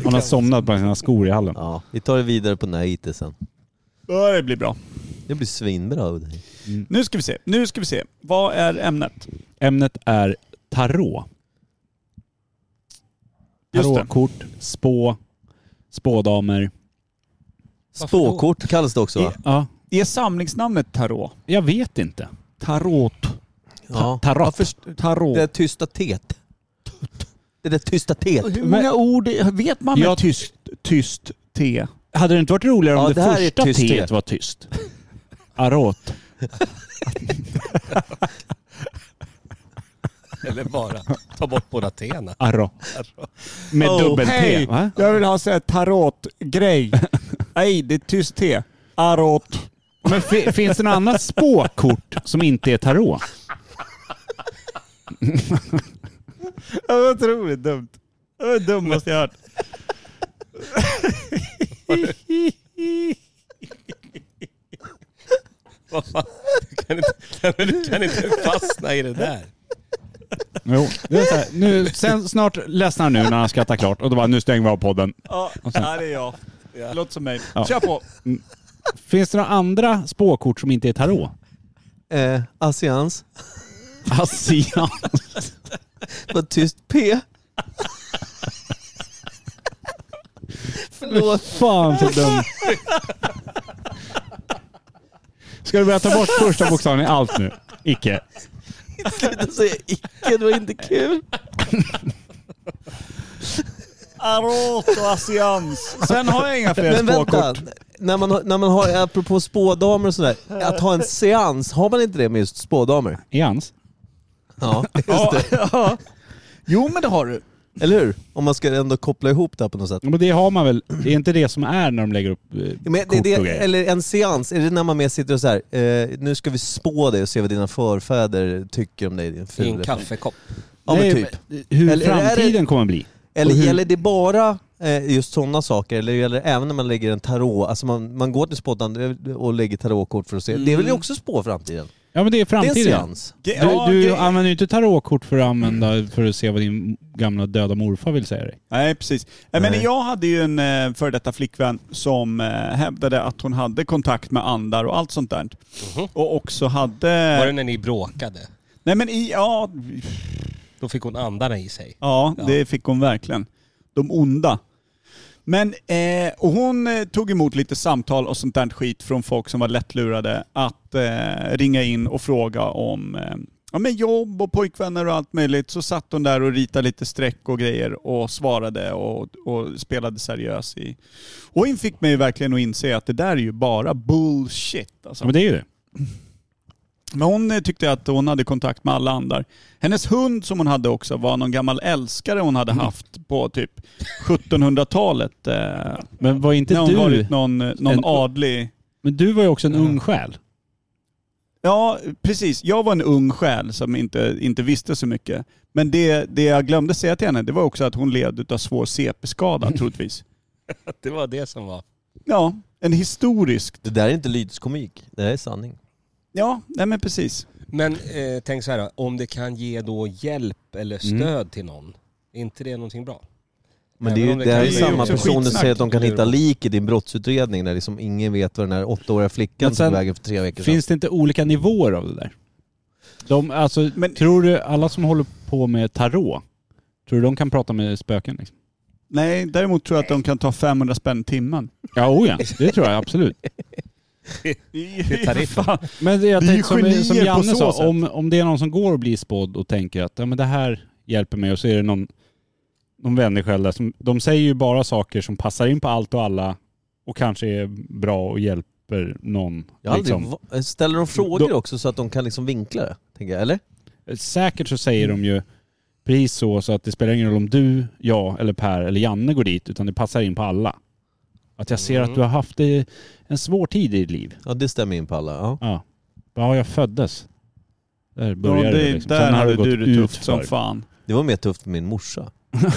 [SPEAKER 1] Han har somnat på sina skor i hallen.
[SPEAKER 2] Ja, vi tar det vidare på Naite sen.
[SPEAKER 3] Ja, det blir bra.
[SPEAKER 2] Det blir svinbra av dig.
[SPEAKER 3] Nu ska vi se. Nu ska vi se. Vad är ämnet?
[SPEAKER 1] Ämnet är tarot.
[SPEAKER 3] Just det.
[SPEAKER 1] Tarotkort, spå, spådamer.
[SPEAKER 4] Varför då?
[SPEAKER 2] Spåkort kallas det också va?
[SPEAKER 1] Ja,
[SPEAKER 3] Är samlingsnamnet tarot?
[SPEAKER 1] jag vet inte.
[SPEAKER 3] Tarot.
[SPEAKER 2] Ja.
[SPEAKER 1] Tarot.
[SPEAKER 3] Tarot.
[SPEAKER 2] Det där tysta tet. Det där tysta tet.
[SPEAKER 3] Hur många ord är- vet man med
[SPEAKER 1] Jag-
[SPEAKER 3] tyst, tyst T?
[SPEAKER 1] Hade det inte varit roligare
[SPEAKER 2] Ja,
[SPEAKER 1] om
[SPEAKER 2] det
[SPEAKER 1] det,
[SPEAKER 2] här är
[SPEAKER 1] första
[SPEAKER 2] tysthet.
[SPEAKER 1] teet var tyst? Arot.
[SPEAKER 4] Eller bara ta bort båda T'na.
[SPEAKER 1] Arro. Med
[SPEAKER 3] Oh,
[SPEAKER 1] dubbel-T,
[SPEAKER 3] hej.
[SPEAKER 1] va?
[SPEAKER 3] Jag vill ha så här <laughs> tarotgrej. Nej, det är tyst T. Arot.
[SPEAKER 1] Men fi- finns det något annat spåkort som inte är tarot?
[SPEAKER 3] Det var otroligt dumt. Det var det dummaste jag hört.
[SPEAKER 4] Vad fan? Du kan inte, nej, men du kan inte fastna i det där.
[SPEAKER 1] Jo. Det är så här, nu, sen snart ledsnar nu när han skrattar klart och då bara nu stänger vi av podden.
[SPEAKER 3] Ja, här är jag. Låt som mig.
[SPEAKER 1] Ja.
[SPEAKER 3] Kör på.
[SPEAKER 1] Finns det några andra spåkort som inte är tarot?
[SPEAKER 2] Eh, Asians.
[SPEAKER 1] Asian.
[SPEAKER 2] Vad tyst P.
[SPEAKER 1] Förlåt. Fan så dum. Ska du börja ta bort första bokstaven i allt nu? Icke.
[SPEAKER 2] Sluta säga icke, det var inte kul.
[SPEAKER 3] Arot och asians. Sen har jag inga fler
[SPEAKER 2] Men vänta,
[SPEAKER 3] spåkort.
[SPEAKER 2] när man, har- när man har, apropå spådamer och sådär, att ha en seans, har man inte det med just spådamer?
[SPEAKER 1] I hans?
[SPEAKER 2] Ja, <laughs> just det.
[SPEAKER 3] Ja. Jo, men det har du.
[SPEAKER 2] Eller hur? Om man ska ändå koppla ihop det här på något sätt.
[SPEAKER 1] Ja, Men det har man väl? Det är inte det som är när de lägger upp eh,
[SPEAKER 2] Men det,
[SPEAKER 1] kort
[SPEAKER 2] det,
[SPEAKER 1] och grejer?
[SPEAKER 2] eller en seans, är det när man mer sitter och så här, eh, nu ska vi spå dig och se vad dina förfäder tycker om dig din
[SPEAKER 4] I en
[SPEAKER 2] ful
[SPEAKER 4] kaffekopp.
[SPEAKER 2] Ja men
[SPEAKER 1] Nej,
[SPEAKER 2] typ.
[SPEAKER 1] men Hur
[SPEAKER 2] Eller är det-
[SPEAKER 1] framtiden kommer bli?
[SPEAKER 2] Eller
[SPEAKER 1] Och hur-
[SPEAKER 2] gäller det bara eh, just sådana saker? Eller gäller det även när man lägger en tarot? Alltså man, man går till spådan och lägger tarotkort för att se. Det är väl
[SPEAKER 1] Mm.
[SPEAKER 2] också spå framtiden?
[SPEAKER 1] Ja men det är
[SPEAKER 2] Det är en
[SPEAKER 1] framtiden.
[SPEAKER 2] seans.
[SPEAKER 1] Du, du använder ju inte tarotkort för att använda för att se vad din gamla döda morfar vill säga dig.
[SPEAKER 3] Nej, precis. Nej. Men
[SPEAKER 2] Nej.
[SPEAKER 3] jag hade ju en eh, före detta flickvän som eh, hävdade att hon hade kontakt med andar och allt sånt där. Och också hade...
[SPEAKER 4] Var det när ni bråkade?
[SPEAKER 3] Nej men i, ja,
[SPEAKER 4] Då fick hon andarna i sig.
[SPEAKER 3] ja,
[SPEAKER 4] Ja.
[SPEAKER 3] det fick hon verkligen. De onda. Men eh, och hon eh, tog emot lite samtal och sånt där skit från folk som var lättlurade att eh, ringa in och fråga om eh, ja, men jobb och pojkvänner och allt möjligt. Så satt hon där och ritade lite streck och grejer och svarade och, och spelade seriös i. Och hon fick mig verkligen att inse att det där är ju bara bullshit. Alltså.
[SPEAKER 1] Ja men det är ju det.
[SPEAKER 3] Men hon eh, tyckte att hon hade kontakt med alla andar. Hennes hund som hon hade också var någon gammal älskare hon hade
[SPEAKER 1] Mm.
[SPEAKER 3] haft på typ 1700-talet. Eh,
[SPEAKER 1] Men var inte
[SPEAKER 3] när hon
[SPEAKER 1] du...
[SPEAKER 3] varit någon, eh, någon
[SPEAKER 1] En-
[SPEAKER 3] adlig...
[SPEAKER 1] Men du var ju också en ung själ.
[SPEAKER 3] Ja, precis. Jag var en ung själ som inte, inte visste så mycket. Men det, det jag glömde säga till henne, det var också att hon led av svår CP-skada
[SPEAKER 1] Mm.
[SPEAKER 3] troligtvis.
[SPEAKER 4] Det var det som var.
[SPEAKER 3] Ja, en historisk...
[SPEAKER 2] Det där är inte lydskomik, det här är sanning.
[SPEAKER 3] Ja, nej men precis.
[SPEAKER 4] Men eh, tänk så här då, om det kan ge då hjälp eller stöd
[SPEAKER 2] Mm.
[SPEAKER 4] till någon, är inte det någonting bra?
[SPEAKER 2] Men det är
[SPEAKER 4] Även
[SPEAKER 2] ju
[SPEAKER 4] om det
[SPEAKER 2] det här
[SPEAKER 4] kan
[SPEAKER 2] är
[SPEAKER 4] bli
[SPEAKER 2] samma
[SPEAKER 3] också
[SPEAKER 2] personer som
[SPEAKER 3] skitsnack.
[SPEAKER 2] säger att de kan
[SPEAKER 4] Eller hur?
[SPEAKER 2] hitta lik i din brottsutredning när liksom ingen vet vad den här åttaåriga flickan
[SPEAKER 1] Men sen
[SPEAKER 2] tog vägen för tre veckor sedan.
[SPEAKER 1] Finns det inte olika nivåer av det där? De, alltså,
[SPEAKER 3] Men-
[SPEAKER 1] tror du alla som håller på med tarot, tror du de kan prata med spöken? Liksom?
[SPEAKER 3] Nej, däremot tror jag att de kan ta 500 spänn timmen.
[SPEAKER 1] Ja, oh ja, det tror jag absolut.
[SPEAKER 3] Det <laughs>
[SPEAKER 4] tariffen.
[SPEAKER 1] Men jag
[SPEAKER 3] Vi är
[SPEAKER 1] tänkte som,
[SPEAKER 3] genier
[SPEAKER 1] som
[SPEAKER 3] på
[SPEAKER 1] Janne
[SPEAKER 3] så sätt.
[SPEAKER 1] sa, om, om det är någon som går och blir spådd och tänker att ja, men det här hjälper mig och så är det någon, någon människa där som, de säger ju bara saker som passar in på allt och alla och kanske är bra och hjälper någon.
[SPEAKER 2] Jag har aldrig,
[SPEAKER 1] liksom.
[SPEAKER 2] va- eh, ställer de frågor
[SPEAKER 1] Då-
[SPEAKER 2] också så att de kan liksom vinkla det? Tänker jag, eller?
[SPEAKER 1] Säkert så säger de ju precis så, så att det spelar ingen roll om du, jag eller Per eller Janne går dit, utan det passar in på alla. Att jag ser att
[SPEAKER 3] Mm.
[SPEAKER 1] du har haft eh, en svår tid i ditt liv.
[SPEAKER 2] Ja det stämmer in på alla. Ja.
[SPEAKER 1] Ja, ja jag föddes. Där började
[SPEAKER 3] Ja,
[SPEAKER 1] det,
[SPEAKER 3] det,
[SPEAKER 1] liksom.
[SPEAKER 3] där
[SPEAKER 1] Sen har
[SPEAKER 3] hade
[SPEAKER 1] det gått
[SPEAKER 3] du det tufft som
[SPEAKER 1] utför.
[SPEAKER 3] fan.
[SPEAKER 2] Det var mer tufft för min morsa.
[SPEAKER 3] Ja, det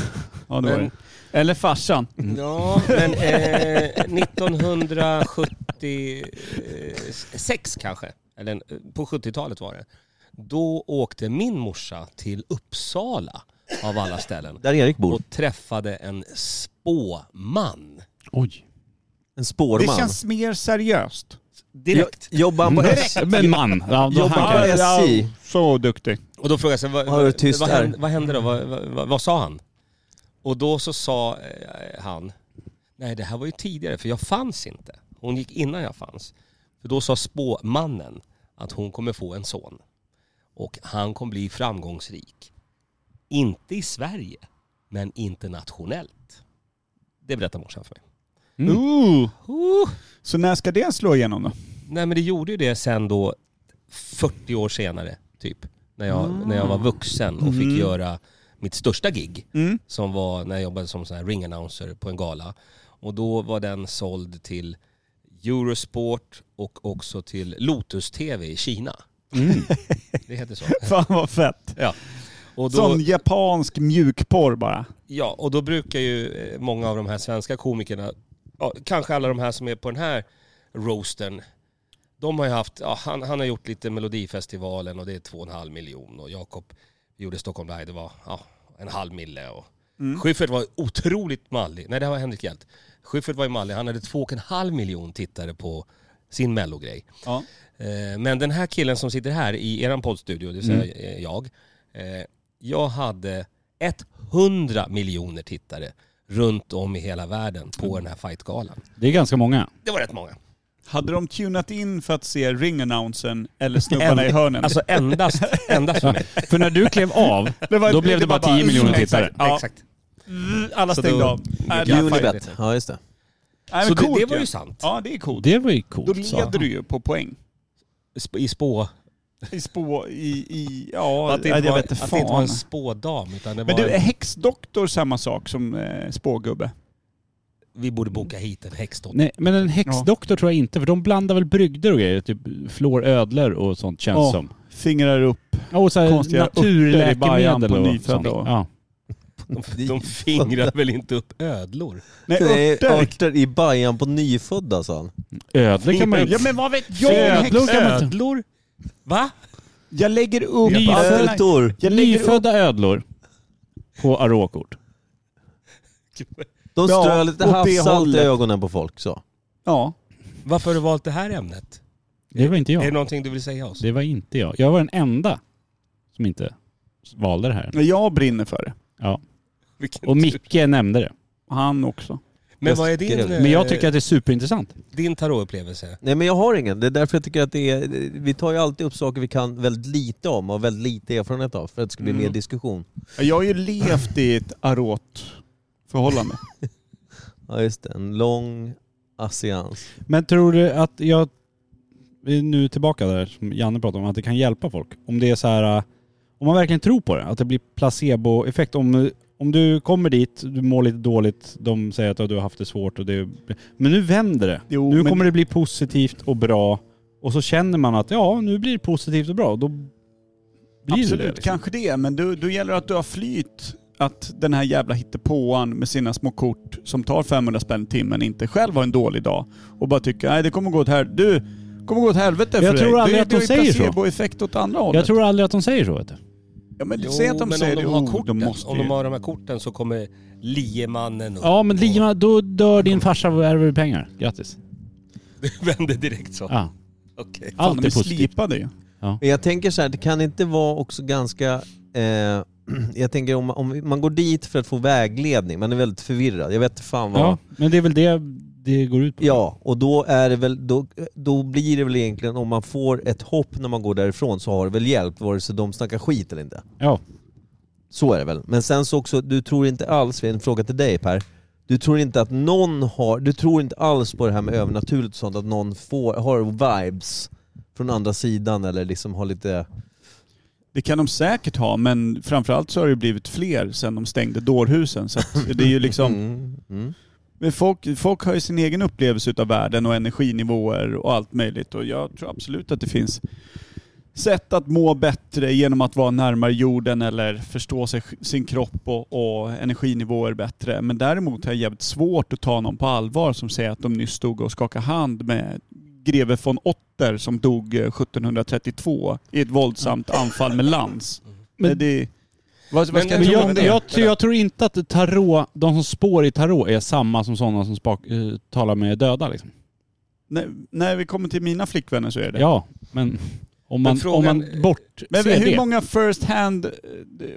[SPEAKER 3] var
[SPEAKER 4] Men-
[SPEAKER 3] det. Eller farsan.
[SPEAKER 2] Mm.
[SPEAKER 4] Ja, men eh, 1976 kanske, eller eh, på 70-talet var det. Då åkte min morsa till Uppsala av alla ställen
[SPEAKER 2] Där Erik bor.
[SPEAKER 4] och träffade en spåman.
[SPEAKER 1] Oj.
[SPEAKER 2] En
[SPEAKER 3] Det
[SPEAKER 2] spårman.
[SPEAKER 3] känns mer seriöst.
[SPEAKER 4] Direkt.
[SPEAKER 2] Jobbar
[SPEAKER 1] <laughs>
[SPEAKER 2] han på SJ?
[SPEAKER 1] Men man. Ja, då
[SPEAKER 2] Jobbar
[SPEAKER 1] han
[SPEAKER 2] på
[SPEAKER 1] kan.
[SPEAKER 2] SJ?
[SPEAKER 3] Så duktig.
[SPEAKER 4] Och då frågade jag sig, vad,
[SPEAKER 2] Ja, det är tyst
[SPEAKER 4] vad,
[SPEAKER 2] här.
[SPEAKER 4] hände, vad hände då? Vad, vad, vad, vad sa han? Och då så sa eh, han, nej det här var ju tidigare för jag fanns inte. Hon gick innan jag fanns. För då sa spåmannen att hon kommer få en son. Och han kommer bli framgångsrik. Inte i Sverige, men internationellt. Det berättar morsan för mig.
[SPEAKER 1] Mm.
[SPEAKER 3] Ooh. Så när ska det slå igenom då? <laughs>
[SPEAKER 4] Nej men det gjorde ju det sen då 40 år senare typ. när jag, när jag var vuxen och fick göra mitt största gig.
[SPEAKER 3] Mm.
[SPEAKER 4] Som var när jag jobbade som sån här ring announcer på en gala. Och då var den såld till Eurosport och också till Lotus TV i Kina. Det heter så.
[SPEAKER 3] Fan vad fett.
[SPEAKER 4] Ja. Och då,
[SPEAKER 3] Sån japansk mjukporr bara.
[SPEAKER 4] Ja, och då brukar ju eh, många av de här svenska komikerna, ja, kanske alla de här som är på den här roasten, de har ju haft, ja, han, han har gjort lite Melodifestivalen och det är två och en halv miljon och Jakob gjorde Stockholm Live, det var ja, en halv mille och Schyffert var otroligt mallig, nej det var Henrik Hjelt. Schyffert var ju mallig, han hade två och en halv miljon tittare på sin mellogrej.
[SPEAKER 3] Ja.
[SPEAKER 4] Eh, Men den här killen som sitter här i eran poddstudio, det vill säga eh, jag. eh, Jag hade 100 miljoner tittare runt om i hela världen på den här fightgalan.
[SPEAKER 1] Det är ganska många.
[SPEAKER 4] Det var rätt många.
[SPEAKER 3] Hade de tunat in för att se ring-announcen eller snubbarna i hörnen?
[SPEAKER 4] Alltså endast, <laughs> endast för mig.
[SPEAKER 1] För när du klev
[SPEAKER 3] <laughs>
[SPEAKER 1] av,
[SPEAKER 3] Det var-
[SPEAKER 1] då blev
[SPEAKER 3] det
[SPEAKER 1] det bara
[SPEAKER 3] var bara-
[SPEAKER 1] 10 miljoner tittare.
[SPEAKER 3] Ja. mm,
[SPEAKER 4] Exakt.
[SPEAKER 3] alla
[SPEAKER 4] så
[SPEAKER 3] stängde
[SPEAKER 4] då-
[SPEAKER 3] av. Nej, det är fajt.
[SPEAKER 2] Unibet. Ja, just det.
[SPEAKER 3] <laughs> Nej,
[SPEAKER 4] Så
[SPEAKER 3] men
[SPEAKER 4] det,
[SPEAKER 3] coolt
[SPEAKER 4] det var
[SPEAKER 3] ju.
[SPEAKER 4] ju sant.
[SPEAKER 3] Ja, det är coolt.
[SPEAKER 1] oh, Det var ju
[SPEAKER 3] Då
[SPEAKER 1] coolt. sa
[SPEAKER 3] leder du ju på poäng.
[SPEAKER 4] Sp- I spå...
[SPEAKER 3] I spå, i, i ja,
[SPEAKER 4] Att det inte
[SPEAKER 3] jag
[SPEAKER 4] var,
[SPEAKER 3] vet inte
[SPEAKER 4] att det inte var
[SPEAKER 3] fan.
[SPEAKER 4] en spådam utan det
[SPEAKER 3] Men
[SPEAKER 4] var
[SPEAKER 3] du, är
[SPEAKER 4] en,
[SPEAKER 3] häxdoktor samma sak som eh, spågubbe?
[SPEAKER 4] vi borde boka hit en
[SPEAKER 3] <laughs>
[SPEAKER 4] häxdotter.
[SPEAKER 1] Nej, men en häxdoktor tror jag inte, för de blandar väl brygder och grejer. Typ flårödlor och sånt känns
[SPEAKER 3] Ja.
[SPEAKER 1] som.
[SPEAKER 3] Fingrar upp.
[SPEAKER 1] Ja, och så här
[SPEAKER 3] Konstiga örter i bajan
[SPEAKER 1] naturläkemedel
[SPEAKER 3] på
[SPEAKER 1] och
[SPEAKER 3] nyfödda
[SPEAKER 1] sånt.
[SPEAKER 3] och-
[SPEAKER 1] Ja.
[SPEAKER 2] <laughs>
[SPEAKER 4] De, de fingrar väl inte upp ödlor?
[SPEAKER 3] Nej,
[SPEAKER 2] Nej,
[SPEAKER 3] örter.
[SPEAKER 2] örter i bajan på alltså. nyfödda sa han.
[SPEAKER 1] Ödlor kan man ju...
[SPEAKER 3] Ja men vad vet jag?
[SPEAKER 1] Ödlor kan man inte...
[SPEAKER 4] Ödlor? Va?
[SPEAKER 3] Jag lägger upp...
[SPEAKER 1] Nyfödda,
[SPEAKER 2] Örtor!
[SPEAKER 3] Jag lägger upp...
[SPEAKER 1] nyfödda ödlor på aråkort.
[SPEAKER 2] De
[SPEAKER 3] Ja,
[SPEAKER 2] strör lite
[SPEAKER 3] åt det
[SPEAKER 2] havssalt i
[SPEAKER 3] hållet.
[SPEAKER 2] ögonen på folk så.
[SPEAKER 3] Ja.
[SPEAKER 4] Varför har du valt det här ämnet?
[SPEAKER 1] Det var inte
[SPEAKER 4] Är det
[SPEAKER 1] jag.
[SPEAKER 4] någonting du vill säga oss?
[SPEAKER 1] Det var inte jag. Jag var den enda som inte valde det här.
[SPEAKER 3] Jag brinner för det.
[SPEAKER 1] Ja.
[SPEAKER 4] Vilken
[SPEAKER 1] Och
[SPEAKER 4] tur.
[SPEAKER 1] Micke nämnde det.
[SPEAKER 3] Han också.
[SPEAKER 4] Men vad är din,
[SPEAKER 2] Skrev.
[SPEAKER 4] eh,
[SPEAKER 1] Men jag tycker att det är superintressant.
[SPEAKER 4] din tarotupplevelse?
[SPEAKER 2] Nej men jag har ingen. Det är därför jag tycker att det är... Vi tar ju alltid upp saker vi kan väldigt lite om och väldigt lite erfarenhet av för att det ska bli
[SPEAKER 3] Mm.
[SPEAKER 2] mer diskussion.
[SPEAKER 3] Jag har ju levt i ett arot förhållande.
[SPEAKER 2] Ja just det, en lång assians.
[SPEAKER 1] Men tror du att jag, vi är nu tillbaka där som Janne pratade om, att det kan hjälpa folk? Om det är så här, äh, om man verkligen tror på det, att det blir placeboeffekt. Om, äh, om du kommer dit, du mår lite dåligt, de säger att "Ja, du har haft det svårt och det... Men nu vänder det.
[SPEAKER 3] Jo,
[SPEAKER 1] nu
[SPEAKER 3] men-
[SPEAKER 1] kommer det bli positivt och bra. Och så känner man att ja, nu blir det positivt och bra. Då blir det
[SPEAKER 3] Absolut,
[SPEAKER 1] det. liksom.
[SPEAKER 3] kanske det. Men då, då gäller det att du har flyt. Att den här jävla hittepåan med sina små kort som tar 500 spänn i timmen inte själv har en dålig dag. Och bara tycker nej det kommer gå åt här. Du, kommer gå åt helvete för
[SPEAKER 1] Jag
[SPEAKER 3] dig.
[SPEAKER 1] tror aldrig
[SPEAKER 3] det,
[SPEAKER 1] att de säger så.
[SPEAKER 3] Det är ju placeboeffekt åt andra hållet.
[SPEAKER 1] Jag tror aldrig att de säger så vet du.
[SPEAKER 3] ja, men säg att de
[SPEAKER 4] men
[SPEAKER 3] säger
[SPEAKER 4] om de
[SPEAKER 3] det.
[SPEAKER 4] har
[SPEAKER 3] Oh,
[SPEAKER 4] korten,
[SPEAKER 3] de måste
[SPEAKER 4] om
[SPEAKER 3] ju.
[SPEAKER 4] de har de här korten så kommer liemannen upp.
[SPEAKER 1] Ja men
[SPEAKER 4] <laughs>
[SPEAKER 1] Lima, då dör din farsa och ärver pengar. Grattis.
[SPEAKER 4] Det vände direkt så.
[SPEAKER 1] Ja.
[SPEAKER 4] Okej.
[SPEAKER 3] Fan,
[SPEAKER 1] Allt
[SPEAKER 3] de
[SPEAKER 1] är
[SPEAKER 3] är
[SPEAKER 1] positivt.
[SPEAKER 3] slipade ju.
[SPEAKER 2] Men jag tänker så här, det kan inte vara också ganska... Eh, <clears throat> jag tänker om, om man går dit för att få vägledning, man är väldigt förvirrad. Jag vet inte fan vad...
[SPEAKER 1] Ja, men det är väl det det går ut på.
[SPEAKER 2] Ja, och då, är det väl, då, då blir det väl egentligen, om man får ett hopp när man går därifrån så har det väl hjälpt, vare sig de snackar skit eller inte.
[SPEAKER 1] Ja.
[SPEAKER 2] Så är det väl. Men sen så också, du tror inte alls, en fråga till dig Per, du tror inte att någon har, du tror inte alls på det här med övernaturligt och sånt, att någon får, har vibes från andra sidan eller liksom har lite...
[SPEAKER 3] Det kan de säkert ha, men framförallt så har det blivit fler sen de stängde dårhusen. Så att det är ju liksom,
[SPEAKER 2] Mm, mm.
[SPEAKER 3] men folk, folk har ju sin egen upplevelse utav världen och energinivåer och allt möjligt. Och jag tror absolut att det finns sätt att må bättre genom att vara närmare jorden eller förstå sig, sin kropp och, och energinivåer bättre. Men däremot har jag jävligt svårt att ta någon på allvar som säger att de nyss stod och skakade hand med greve von Otter som dog eh, 1732 i ett våldsamt anfall med lans. Men det, vad, vad ska
[SPEAKER 4] Men
[SPEAKER 3] jag,
[SPEAKER 1] Men
[SPEAKER 3] tro
[SPEAKER 1] jag,
[SPEAKER 3] om
[SPEAKER 1] jag,
[SPEAKER 3] det?
[SPEAKER 1] jag, tror- jag tror inte att tarot, de som spår i tarot är samma som sådana som spak, eh, talar med döda. Liksom.
[SPEAKER 3] När, när vi kommer till mina flickvänner så är det.
[SPEAKER 1] Ja, men om man,
[SPEAKER 4] Men frågan-
[SPEAKER 1] om man bort
[SPEAKER 3] Men
[SPEAKER 1] ser
[SPEAKER 3] hur
[SPEAKER 1] det.
[SPEAKER 3] många first hand eh,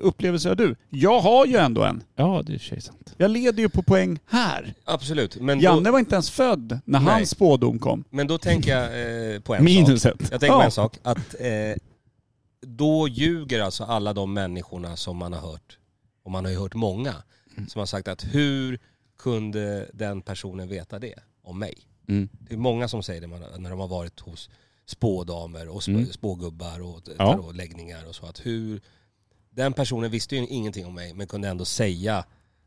[SPEAKER 3] upplevelser har du? Jag har ju ändå en.
[SPEAKER 1] Ja, det är i och för sig sant.
[SPEAKER 3] Jag leder ju på poäng här.
[SPEAKER 4] Absolut. Men
[SPEAKER 3] Janne
[SPEAKER 4] då,
[SPEAKER 3] var inte ens född när
[SPEAKER 4] Nej.
[SPEAKER 3] hans spådom kom.
[SPEAKER 4] men då tänker jag eh, på en sak.
[SPEAKER 1] Minuset.
[SPEAKER 4] Jag tänker på
[SPEAKER 3] Ja.
[SPEAKER 4] en sak. Att, eh, då ljuger alltså alla de människorna som man har hört, och man har ju hört många,
[SPEAKER 1] Mm.
[SPEAKER 4] som har sagt att hur kunde den personen veta det om mig?
[SPEAKER 1] Mm.
[SPEAKER 4] Det är många som säger det man- när de har varit hos spådamer och sp-
[SPEAKER 1] Mm.
[SPEAKER 4] spågubbar och t-
[SPEAKER 1] Ja.
[SPEAKER 4] tarotläggningar och så. Att hur, den personen visste ju ingenting om mig men kunde ändå säga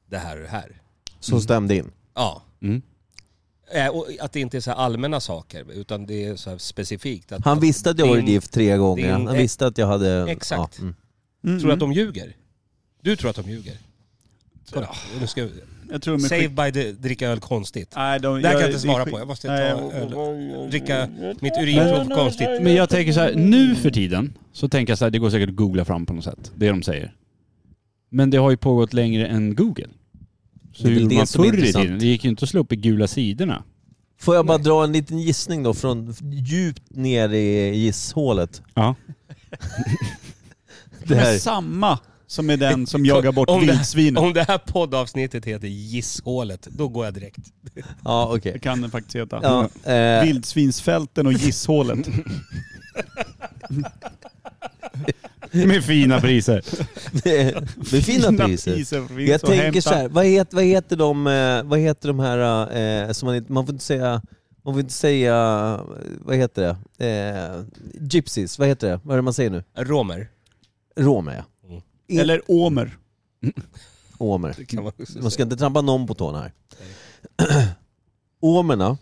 [SPEAKER 4] det här och det här.
[SPEAKER 2] Som stämde in.
[SPEAKER 4] Ja.
[SPEAKER 1] Mm.
[SPEAKER 4] Eh, Och att det inte är så här allmänna saker utan det är så här specifikt. Att,
[SPEAKER 2] Han visste att jag varit
[SPEAKER 4] din-
[SPEAKER 2] gift tre gånger.
[SPEAKER 4] din-
[SPEAKER 2] Han visste att jag hade...
[SPEAKER 4] Exakt.
[SPEAKER 2] Ja, mm.
[SPEAKER 3] Mm.
[SPEAKER 4] Tror du att de ljuger? Du tror att de ljuger? Kolla, nu ska jag,
[SPEAKER 3] Jag tror de är
[SPEAKER 4] save
[SPEAKER 3] skit...
[SPEAKER 4] by the, dricka öl konstigt.
[SPEAKER 3] Nej, de,
[SPEAKER 4] Det här kan jag
[SPEAKER 3] det är
[SPEAKER 4] inte svara
[SPEAKER 3] skit-
[SPEAKER 4] på. Jag måste
[SPEAKER 3] Nej,
[SPEAKER 4] ta öl. Dricka mitt urinprov
[SPEAKER 1] Men-
[SPEAKER 4] konstigt.
[SPEAKER 1] Men jag tänker så här, nu för tiden så tänker jag så här, det går säkert att googla fram på något sätt, det de säger. Men det har ju pågått längre än Google. Så
[SPEAKER 2] Det är
[SPEAKER 1] hur
[SPEAKER 2] det
[SPEAKER 1] man
[SPEAKER 2] som är
[SPEAKER 1] förr i
[SPEAKER 2] intressant.
[SPEAKER 1] tiden, det gick ju inte att slå upp i gula sidorna.
[SPEAKER 2] Får jag bara dra en liten gissning då från djupt ner i gisshålet?
[SPEAKER 1] Ja. <laughs>
[SPEAKER 2] Det här.
[SPEAKER 3] Men samma som är den som jagar bort vildsvinet.
[SPEAKER 4] Om det här poddavsnittet heter Gisshålet, då går jag direkt.
[SPEAKER 2] Ja, okej.
[SPEAKER 3] <laughs> Det kan den faktiskt heta.
[SPEAKER 2] Ja, eh, <laughs>
[SPEAKER 3] Vildsvinsfälten och gisshålet.
[SPEAKER 1] Med fina priser.
[SPEAKER 2] med <laughs> fina priser. Jag tänker så här, vad heter, vad heter, de, eh, vad heter de här eh, som man inte, man får inte säga, man får inte säga, eh, vad heter det, eh, gypsies, vad heter det, vad är det man säger nu?
[SPEAKER 4] Romer.
[SPEAKER 2] Romer ja.
[SPEAKER 3] Eller åmer.
[SPEAKER 2] Romer.
[SPEAKER 4] Det kan man
[SPEAKER 3] Mm.
[SPEAKER 4] också
[SPEAKER 2] Man ska
[SPEAKER 4] säga.
[SPEAKER 2] inte trampa någon på tårna här. <clears throat> Romerna,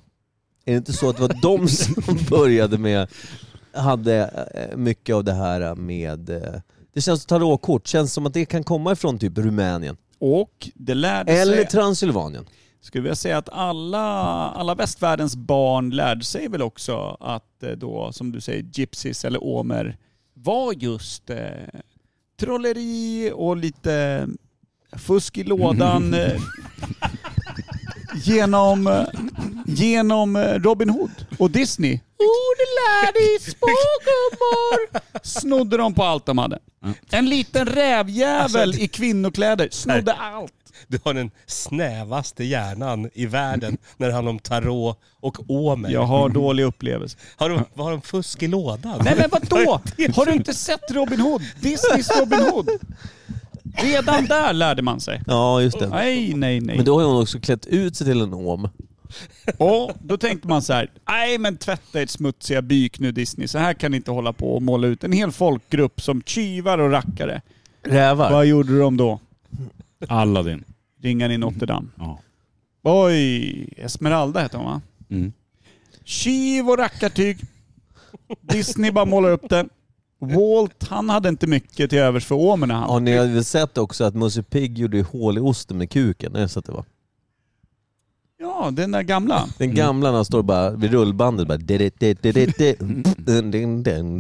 [SPEAKER 2] är det inte så att det var de <laughs> som började med, hade eh, mycket av det här med, eh, det känns som tarotkort, känns som att det kan komma ifrån typ Rumänien.
[SPEAKER 3] Och det lärde
[SPEAKER 2] Eller
[SPEAKER 3] sig...
[SPEAKER 2] Transylvanien.
[SPEAKER 3] Skulle jag säga att alla, alla västvärldens barn lärde sig väl också att eh, då, som du säger, gypsies eller åmer var just eh, trolleri och lite fusk i lådan eh, genom, eh, genom eh, Robin Hood och Disney. Oh, det lärde spågummor! <laughs> Snodde de på allt de hade. En liten rävjävel i kvinnokläder snodde allt.
[SPEAKER 4] Du har den snävaste hjärnan i världen när det handlar om tarot och åmer.
[SPEAKER 3] Jag har dålig upplevelse.
[SPEAKER 4] Har, de, har de fusk i lådan?
[SPEAKER 3] Nej men
[SPEAKER 2] <laughs>
[SPEAKER 3] vadå? Har du inte sett Robin Hood? Disneys Robin Hood? Redan där lärde man sig.
[SPEAKER 2] Ja, just det.
[SPEAKER 3] Nej, nej, nej.
[SPEAKER 2] Men då har hon också klätt ut sig till en om.
[SPEAKER 3] Och då tänkte man så här, nej men tvätta ert smutsiga byk nu Disney. Så här kan ni inte hålla på och måla ut en hel folkgrupp som tjuvar och rackare.
[SPEAKER 2] Rävar.
[SPEAKER 3] Vad gjorde de då?
[SPEAKER 1] Aladdin.
[SPEAKER 3] Ringade i Notre Dame.
[SPEAKER 1] Ja.
[SPEAKER 3] Oj, Esmeralda hette hon va?
[SPEAKER 1] Mm.
[SPEAKER 3] Tjuv och rackartyg. Disney bara målar upp det. Walt, han hade inte mycket till övers för åmerna han.
[SPEAKER 2] Har ni väl sett också att Musse Pigg gjorde ju hål i osten med kuken? Är det så att det var?
[SPEAKER 3] Ja, den där gamla.
[SPEAKER 2] Den gamla när han står bara vid rullbandet bara... Det
[SPEAKER 3] Det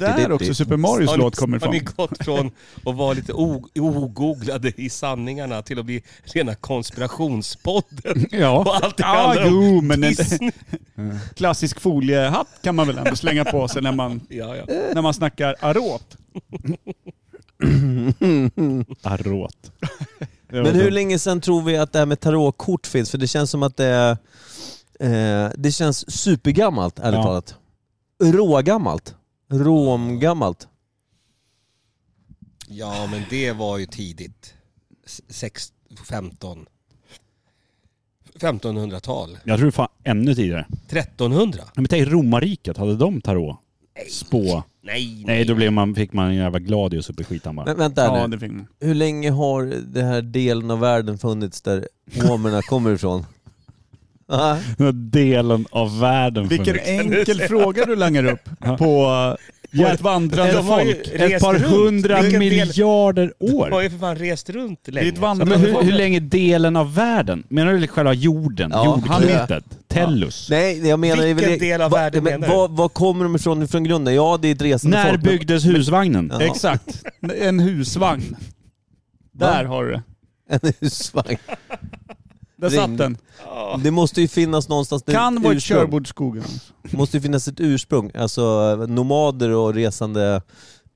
[SPEAKER 3] är där också Super Marios
[SPEAKER 4] Har ni-
[SPEAKER 3] låt kommer
[SPEAKER 4] Har
[SPEAKER 3] ifrån.
[SPEAKER 4] ni gått från att vara lite o- ogooglade i sanningarna till att bli rena konspirationspodden?
[SPEAKER 1] Ja.
[SPEAKER 4] Och allt det
[SPEAKER 3] Ja,
[SPEAKER 4] handlar om
[SPEAKER 3] jo, men en
[SPEAKER 4] Disney.
[SPEAKER 3] <laughs> klassisk foliehatt kan man väl ändå slänga på sig när man,
[SPEAKER 4] Ja, ja.
[SPEAKER 3] när man snackar aråt.
[SPEAKER 1] Arråt.
[SPEAKER 2] Men hur länge sedan tror vi att det här med tarotkort finns? För det känns som att det är... eh, Det känns supergammalt, ärligt
[SPEAKER 1] Ja.
[SPEAKER 2] talat. Rågammalt. Romgammalt.
[SPEAKER 4] <laughs> Ja, men det var ju tidigt. S- sex- 15. 1500-tal.
[SPEAKER 1] Jag tror fan ännu tidigare.
[SPEAKER 4] 1300?
[SPEAKER 1] Men tänk romarriket, hade de tarot? Spå?
[SPEAKER 4] Nej,
[SPEAKER 1] Nej, då blev man, fick man en jävla gladius upp i skitan bara.
[SPEAKER 2] Men vänta
[SPEAKER 3] Ja,
[SPEAKER 2] här nu.
[SPEAKER 3] det fick man.
[SPEAKER 2] Hur länge har den här delen av världen funnits där romerna kommer ifrån? Va?
[SPEAKER 1] Den här delen av världen.
[SPEAKER 3] Vilken
[SPEAKER 1] funnits.
[SPEAKER 3] enkel fråga du langar upp på, på ett vandrande
[SPEAKER 4] De har ju
[SPEAKER 3] folk.
[SPEAKER 4] rest
[SPEAKER 1] Ett par
[SPEAKER 4] runt.
[SPEAKER 1] hundra
[SPEAKER 4] Vilken del-
[SPEAKER 1] miljarder år.
[SPEAKER 4] De har ju för fan rest runt länge.
[SPEAKER 3] Det är ett
[SPEAKER 1] Ja, men
[SPEAKER 3] vandrande
[SPEAKER 1] hur, hur
[SPEAKER 3] folk.
[SPEAKER 1] länge delen av världen? Menar du själva jorden?
[SPEAKER 2] Ja,
[SPEAKER 1] Jordklotet? Tellus?
[SPEAKER 2] Nej, jag menar...
[SPEAKER 4] Vilken
[SPEAKER 2] det är väl-
[SPEAKER 4] del av
[SPEAKER 2] va-
[SPEAKER 4] världen
[SPEAKER 2] men
[SPEAKER 4] menar du?
[SPEAKER 2] vad, vad kommer de ifrån ifrån grunden? Ja, det är ett resande
[SPEAKER 1] När
[SPEAKER 2] folk. men-
[SPEAKER 1] byggdes husvagnen?
[SPEAKER 2] Ja.
[SPEAKER 3] Exakt. En husvagn. Där har du det.
[SPEAKER 2] En husvagn.
[SPEAKER 3] Där
[SPEAKER 2] Ring.
[SPEAKER 3] satt den.
[SPEAKER 2] Det måste ju finnas någonstans... ett
[SPEAKER 3] Kan vara i
[SPEAKER 2] ursprung.
[SPEAKER 3] körbordsskogen.
[SPEAKER 2] måste ju finnas ett ursprung. Alltså nomader och resande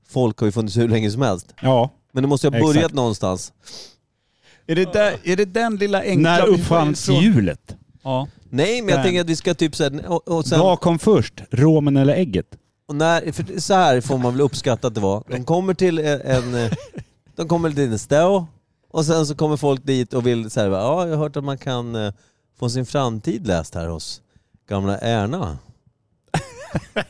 [SPEAKER 2] folk har ju funnits hur länge som helst.
[SPEAKER 1] Ja.
[SPEAKER 2] Men det måste ju ha börjat
[SPEAKER 1] Exakt.
[SPEAKER 2] någonstans.
[SPEAKER 3] Är det, där, är det den lilla enkla...
[SPEAKER 1] När uppfanns hjulet?
[SPEAKER 3] Ja.
[SPEAKER 2] Nej, men jag
[SPEAKER 3] Där.
[SPEAKER 2] tänker att vi ska typ såhär... Och, och sen,
[SPEAKER 1] Vad kom först? Romen eller ägget?
[SPEAKER 2] och när, för så här får man väl uppskatta att det var. De kommer till e- en... en de kommer till en stå och sen så kommer folk dit och vill säga ja, jag har hört att man kan eh, få sin framtid läst här hos gamla Erna.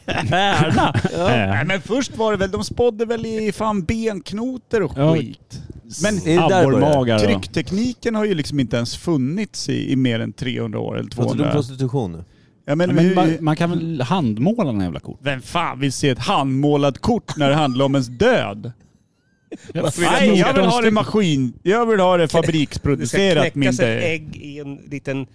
[SPEAKER 3] Ärna?
[SPEAKER 1] Ja.
[SPEAKER 3] Nej men först var det väl, de spådde väl i fan benknotor och
[SPEAKER 1] Ja.
[SPEAKER 3] skit. Men
[SPEAKER 2] Är det där det började?
[SPEAKER 1] Abborrmagar va?
[SPEAKER 3] trycktekniken har ju liksom inte ens funnits i, i mer än 300 år eller
[SPEAKER 2] Pratar du om
[SPEAKER 3] 200.
[SPEAKER 2] prostitution nu?
[SPEAKER 3] Ja, men,
[SPEAKER 1] Ja, Alltså, men
[SPEAKER 3] hur-
[SPEAKER 1] man, man kan väl handmåla några jävla kort?
[SPEAKER 3] Vem fan vill se ett handmålat kort när det handlar om ens död? Nej, jag vill ha det maskin... Jag vill ha det
[SPEAKER 4] Det ska
[SPEAKER 3] fabriksproducerat, min
[SPEAKER 4] knäckas ett
[SPEAKER 3] död.
[SPEAKER 4] ägg i en liten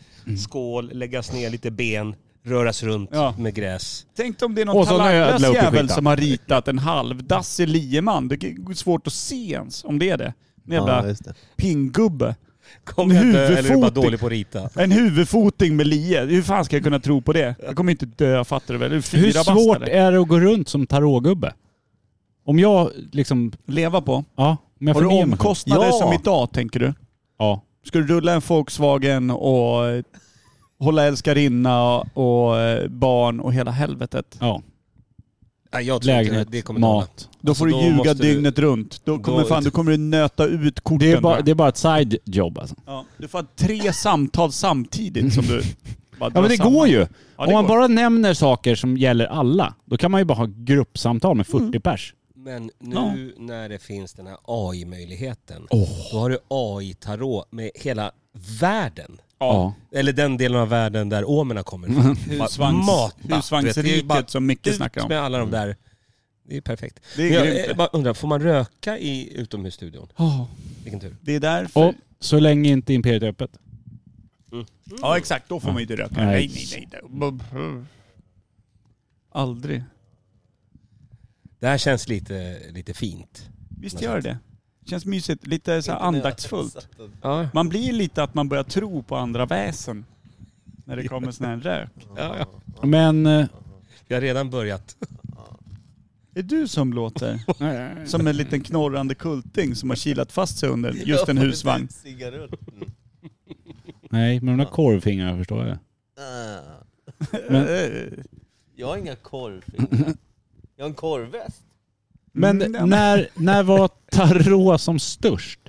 [SPEAKER 4] skål, läggas ner lite ben, röras runt
[SPEAKER 3] Ja.
[SPEAKER 4] med gräs.
[SPEAKER 3] Tänk om det är
[SPEAKER 1] Och
[SPEAKER 3] någon
[SPEAKER 1] så när jag
[SPEAKER 3] talanglös
[SPEAKER 1] la upp i
[SPEAKER 3] jävel
[SPEAKER 1] skiten.
[SPEAKER 3] som har ritat en halvdassig lieman. Det är svårt att se ens om det är det. En
[SPEAKER 2] Ja,
[SPEAKER 3] jävla
[SPEAKER 2] just det.
[SPEAKER 3] pinggubbe.
[SPEAKER 4] Kommer jag dö eller är du bara
[SPEAKER 3] Huvudfoting.
[SPEAKER 4] dålig på att rita?
[SPEAKER 3] En huvudfoting med lie. Hur fan ska jag kunna tro på det? Jag kommer inte dö, fattar du väl? Du är Fyra
[SPEAKER 1] Hur
[SPEAKER 3] bast,
[SPEAKER 1] svårt
[SPEAKER 3] eller?
[SPEAKER 1] är det att gå runt som tarotgubbe? Om jag liksom...
[SPEAKER 3] Leva på.
[SPEAKER 1] Ja, om jag
[SPEAKER 3] Har du
[SPEAKER 1] förnemmar mig själv.
[SPEAKER 3] omkostnader
[SPEAKER 2] Ja.
[SPEAKER 3] som idag, tänker du?
[SPEAKER 1] Ja.
[SPEAKER 3] Ska du rulla en Volkswagen och eh, hålla älskarinna och eh, barn och hela helvetet.
[SPEAKER 1] ja.
[SPEAKER 4] Nej, jag tror inte det.
[SPEAKER 1] Lägenhet,
[SPEAKER 4] det kommer inte hålla.
[SPEAKER 1] mat.
[SPEAKER 3] Då
[SPEAKER 4] Alltså,
[SPEAKER 3] får du
[SPEAKER 4] då
[SPEAKER 3] ljuga
[SPEAKER 4] måste du-
[SPEAKER 3] dygnet runt. Då kommer,
[SPEAKER 4] Då-
[SPEAKER 3] fan, då kommer du nöta ut korten.
[SPEAKER 1] Det är, bara,
[SPEAKER 3] va?
[SPEAKER 1] det är bara ett side job alltså.
[SPEAKER 3] Ja, du får tre samtal
[SPEAKER 1] <laughs>
[SPEAKER 3] samtidigt som du... Bara
[SPEAKER 1] Ja men det går ju.
[SPEAKER 3] det
[SPEAKER 1] Om man
[SPEAKER 3] går.
[SPEAKER 1] bara nämner saker som gäller alla, då kan man ju bara ha gruppsamtal med 40
[SPEAKER 3] Mm.
[SPEAKER 1] pers.
[SPEAKER 4] Men nu
[SPEAKER 3] Ja.
[SPEAKER 4] när det finns den här AI-möjligheten, då har du AI-tarot med hela världen.
[SPEAKER 1] Ja.
[SPEAKER 4] Eller den delen av världen där åmerna
[SPEAKER 1] <laughs>
[SPEAKER 4] kommer ifrån.
[SPEAKER 3] Husvagns,
[SPEAKER 4] Matat, vet du, det är bara
[SPEAKER 3] husvagnsriket som Micke
[SPEAKER 4] Ut
[SPEAKER 3] snackar om.
[SPEAKER 4] med alla
[SPEAKER 1] Mm.
[SPEAKER 4] de där. Det är perfekt.
[SPEAKER 3] Det är
[SPEAKER 4] Men jag
[SPEAKER 3] grymt.
[SPEAKER 4] eh, bara undrar, får man röka i utomhusstudion?
[SPEAKER 1] Ja.
[SPEAKER 4] Vilken tur.
[SPEAKER 3] Det är därför...
[SPEAKER 1] Och så länge inte Imperiet är öppet.
[SPEAKER 3] Ja exakt, då får man ju inte röka.
[SPEAKER 1] Nej.
[SPEAKER 3] Nej, nej, nej. nej. Aldrig.
[SPEAKER 4] Det här känns lite, lite fint.
[SPEAKER 3] Visst gör det Känns mysigt. Lite så här andaktsfullt.
[SPEAKER 4] Ja,
[SPEAKER 3] Man blir lite att man börjar tro på andra väsen. När det kommer sån här rök.
[SPEAKER 4] ja, ja.
[SPEAKER 1] Men... eh,
[SPEAKER 4] Vi har redan börjat.
[SPEAKER 3] Det är du som låter <laughs> som en liten knorrande kulting som har kilat fast sig under just en husvagn.
[SPEAKER 1] Nej, men de där korvfingrarna förstår jag.
[SPEAKER 2] Ah,
[SPEAKER 3] Men,
[SPEAKER 2] Jag har inga korvfingrar. Jag har en korvväst.
[SPEAKER 1] Men
[SPEAKER 3] Mm, ja.
[SPEAKER 1] när, när var tarot som störst?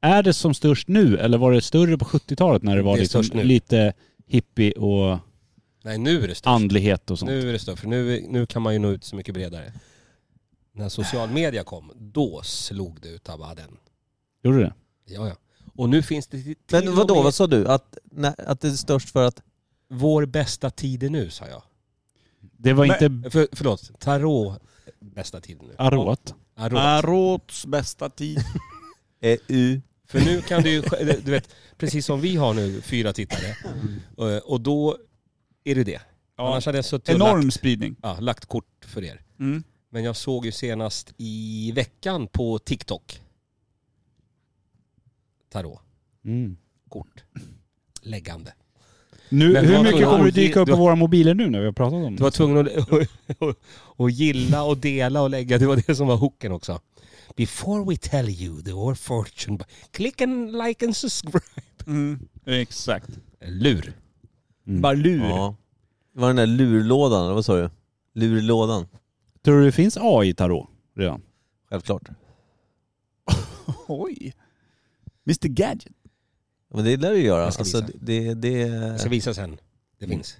[SPEAKER 1] Är det som störst nu eller var det större på 70-talet när det var
[SPEAKER 4] Det är
[SPEAKER 1] liksom
[SPEAKER 4] störst nu.
[SPEAKER 1] lite hippie och
[SPEAKER 4] <laughs> Nej, nu är det störst.
[SPEAKER 1] andlighet och sånt?
[SPEAKER 4] Nu är det störst, för nu, nu kan man ju nå ut så mycket bredare. När social media kom, då slog det ut abaden.
[SPEAKER 1] Gjorde du det?
[SPEAKER 4] Ja, ja. Och nu finns det till
[SPEAKER 2] Men
[SPEAKER 4] och
[SPEAKER 2] vadå,
[SPEAKER 4] med
[SPEAKER 2] vad sa du? Att, nej, att det är störst för att...
[SPEAKER 4] Vår bästa tid är nu, sa jag.
[SPEAKER 1] Det var
[SPEAKER 3] Men-
[SPEAKER 1] inte
[SPEAKER 4] För, förlåt, tarot bästa tid är nu.
[SPEAKER 1] arot.
[SPEAKER 4] Tarot.
[SPEAKER 3] Arots bästa tid.
[SPEAKER 2] Eh, u.
[SPEAKER 4] För nu kan du ju, du vet, precis som vi har nu, fyra tittare. Eh, Och då är det det.
[SPEAKER 3] Ja,
[SPEAKER 4] Annars hade jag suttit och
[SPEAKER 3] enorm
[SPEAKER 4] lagt,
[SPEAKER 3] spridning.
[SPEAKER 4] ja, lagt kort för er.
[SPEAKER 3] Mm.
[SPEAKER 4] Men jag såg ju senast i veckan på TikTok. Tarot,
[SPEAKER 1] Mm.
[SPEAKER 4] kort, läggande.
[SPEAKER 1] Nu,
[SPEAKER 4] Men
[SPEAKER 1] hur
[SPEAKER 4] vad
[SPEAKER 1] mycket
[SPEAKER 4] tror
[SPEAKER 1] kommer
[SPEAKER 4] du-
[SPEAKER 1] det dyka upp
[SPEAKER 4] du-
[SPEAKER 1] på våra mobiler nu när vi har pratat om
[SPEAKER 4] Du
[SPEAKER 1] det?
[SPEAKER 4] var tvungen att <laughs> och gilla och dela och lägga. Det var det som var hooken också. Before we tell you the our fortune, click and like and subscribe.
[SPEAKER 3] Mm. Exakt.
[SPEAKER 4] Lur. Mm.
[SPEAKER 3] Bara lur.
[SPEAKER 2] Ja. Det var den där lurlådan, eller vad sa du? Lurlådan.
[SPEAKER 1] Tror du det finns AI-tarot redan?
[SPEAKER 2] Självklart.
[SPEAKER 3] Oj. Mr Gadget.
[SPEAKER 2] Men det lär du göra.
[SPEAKER 4] Jag ska
[SPEAKER 2] Alltså,
[SPEAKER 4] visa.
[SPEAKER 2] det, det...
[SPEAKER 4] Jag ska visa sen. Det finns.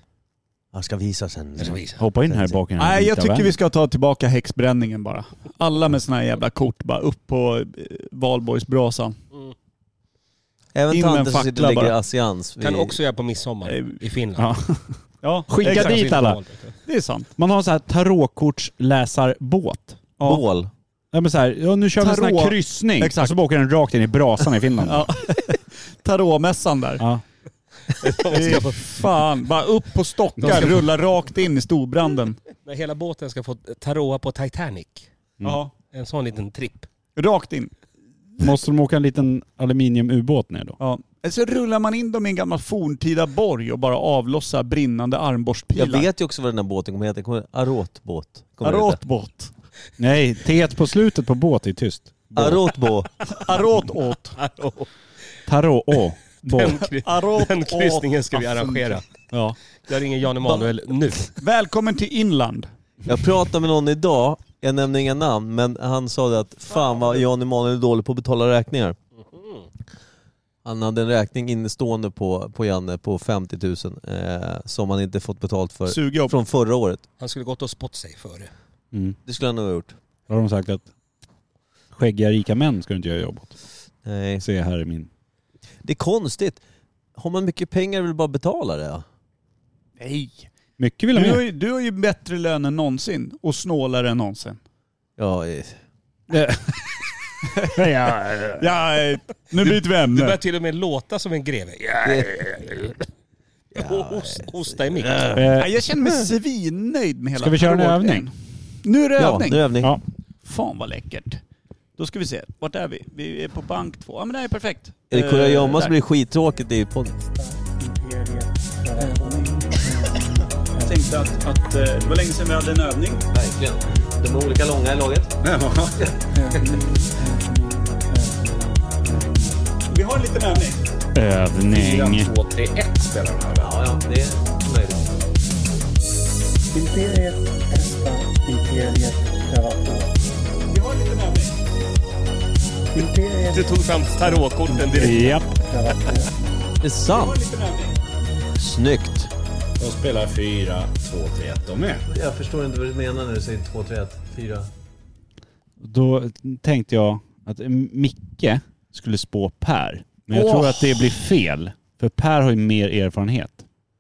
[SPEAKER 2] Jag ska visa sen.
[SPEAKER 4] Jag ska visa.
[SPEAKER 1] Hoppa in här bakom den här
[SPEAKER 3] Nej, jag
[SPEAKER 1] vita
[SPEAKER 3] tycker
[SPEAKER 1] världen.
[SPEAKER 3] vi ska ta tillbaka häxbränningen bara. Alla med såna här jävla kort bara upp på eh, valborgsbrasan.
[SPEAKER 2] Även
[SPEAKER 3] In med en
[SPEAKER 2] tanten som sitter och
[SPEAKER 3] fackla
[SPEAKER 2] lägger
[SPEAKER 3] bara.
[SPEAKER 2] assians.
[SPEAKER 4] Kan
[SPEAKER 2] vid-
[SPEAKER 4] också göra på midsommar i Finland.
[SPEAKER 1] Ja.
[SPEAKER 4] <laughs>
[SPEAKER 3] Ja,
[SPEAKER 1] Skicka
[SPEAKER 3] exakt.
[SPEAKER 1] dit alla.
[SPEAKER 3] Det är sant.
[SPEAKER 1] Man har en sån här tarotkortsläsarbåt.
[SPEAKER 3] Ja.
[SPEAKER 2] Bål.
[SPEAKER 1] Ja, men så här, ja, nu kör vi en sån här
[SPEAKER 3] Tarot.
[SPEAKER 1] kryssning.
[SPEAKER 3] Exakt.
[SPEAKER 1] Och så bara åker den rakt in i brasan i Finland.
[SPEAKER 3] <laughs> Ja. Tarotmässan där.
[SPEAKER 1] Ja.
[SPEAKER 3] Fy Fan, bara upp på
[SPEAKER 4] De
[SPEAKER 3] stockar,
[SPEAKER 4] ska-
[SPEAKER 3] rulla rakt in i storbranden.
[SPEAKER 1] Mm.
[SPEAKER 4] När hela båten ska få taroa på Titanic.
[SPEAKER 3] Ja.
[SPEAKER 4] En sån liten tripp.
[SPEAKER 3] Rakt in.
[SPEAKER 1] Måste de åka en liten aluminiumubåt ner då?
[SPEAKER 3] Ja. Eller så rullar man in dem i en gammal forntida borg och bara avlossar brinnande armborstpilar.
[SPEAKER 2] Jag vet ju också vad den där båten kommer heta. Den Kommer... Arotbåt. Kommer den heta.
[SPEAKER 3] Arotbåt.
[SPEAKER 1] Nej, T på slutet på båt är tyst.
[SPEAKER 2] Arotbå.
[SPEAKER 3] Arotåt.
[SPEAKER 1] Tarot, å, båt.
[SPEAKER 4] <laughs> Den, kry- <laughs>
[SPEAKER 3] Arot
[SPEAKER 4] den kryssningen
[SPEAKER 3] åt
[SPEAKER 4] ska vi
[SPEAKER 3] assen.
[SPEAKER 4] arrangera.
[SPEAKER 1] Ja.
[SPEAKER 4] Jag ringer Jan Emanuel nu.
[SPEAKER 3] Välkommen till inland.
[SPEAKER 2] Jag pratade med någon idag, jag nämner inga namn, Mhm. men han sa det att fan vad Jan Emanuel är dålig på att betala räkningar. Han hade en räkning innestående på, på Janne på 50 000 eh, som han inte fått betalt för
[SPEAKER 7] Sugjobb.
[SPEAKER 2] från förra året.
[SPEAKER 4] Han skulle gått och spott sig före.
[SPEAKER 1] Mm.
[SPEAKER 2] Det skulle han nog ha gjort.
[SPEAKER 1] Då har de sagt att skäggiga rika män ska du inte göra jobb åt.
[SPEAKER 2] Nej.
[SPEAKER 1] Se här är min.
[SPEAKER 2] Det är konstigt. Har man mycket pengar vill bara betala det. ja.
[SPEAKER 7] Nej.
[SPEAKER 1] Mycket vill ha
[SPEAKER 7] Du har,
[SPEAKER 1] med.
[SPEAKER 7] ju, du har ju bättre lön än någonsin och snålare än
[SPEAKER 3] <laughs>
[SPEAKER 7] någonsin.
[SPEAKER 2] Ja, eh,
[SPEAKER 7] Ja, eh, nu byter vi
[SPEAKER 4] Du börjar
[SPEAKER 7] ämne.
[SPEAKER 4] till och med låta som en greve. Ja, och host, hosta i mick.
[SPEAKER 1] Eh,
[SPEAKER 7] Ja, jag känner mig svinnöjd med hela
[SPEAKER 1] Ska vi köra en
[SPEAKER 7] frågan.
[SPEAKER 1] övning?
[SPEAKER 7] Nu är det
[SPEAKER 2] ja
[SPEAKER 7] övning.
[SPEAKER 2] nu är övning.
[SPEAKER 1] ja.
[SPEAKER 7] Fan vad läckert. Då ska vi se, vart är vi? Vi är på bank två. Ja men det här är perfekt.
[SPEAKER 2] Är det
[SPEAKER 7] Eh,
[SPEAKER 2] kurragömma
[SPEAKER 7] där.
[SPEAKER 2] så blir det skittråkigt i podden.
[SPEAKER 7] Jag tänkte att, att eh, det var länge sedan vi hade en övning.
[SPEAKER 2] Verkligen. De är olika långa i laget.
[SPEAKER 7] Vi har en liten övning.
[SPEAKER 1] Övning.
[SPEAKER 2] Ja, ja, det är möjligt.
[SPEAKER 7] Vi har en liten övning.
[SPEAKER 4] Du tog fram tarotkorten direkt.
[SPEAKER 1] Japp.
[SPEAKER 2] Det är sant. Snyggt.
[SPEAKER 9] De spelar 4, 2, 3, 1 de med.
[SPEAKER 2] Jag förstår inte vad du menar när du säger 2, 3, 1, 4.
[SPEAKER 1] Då tänkte jag att Micke skulle spå Per. Men jag tror att det blir fel. För Per har ju mer erfarenhet.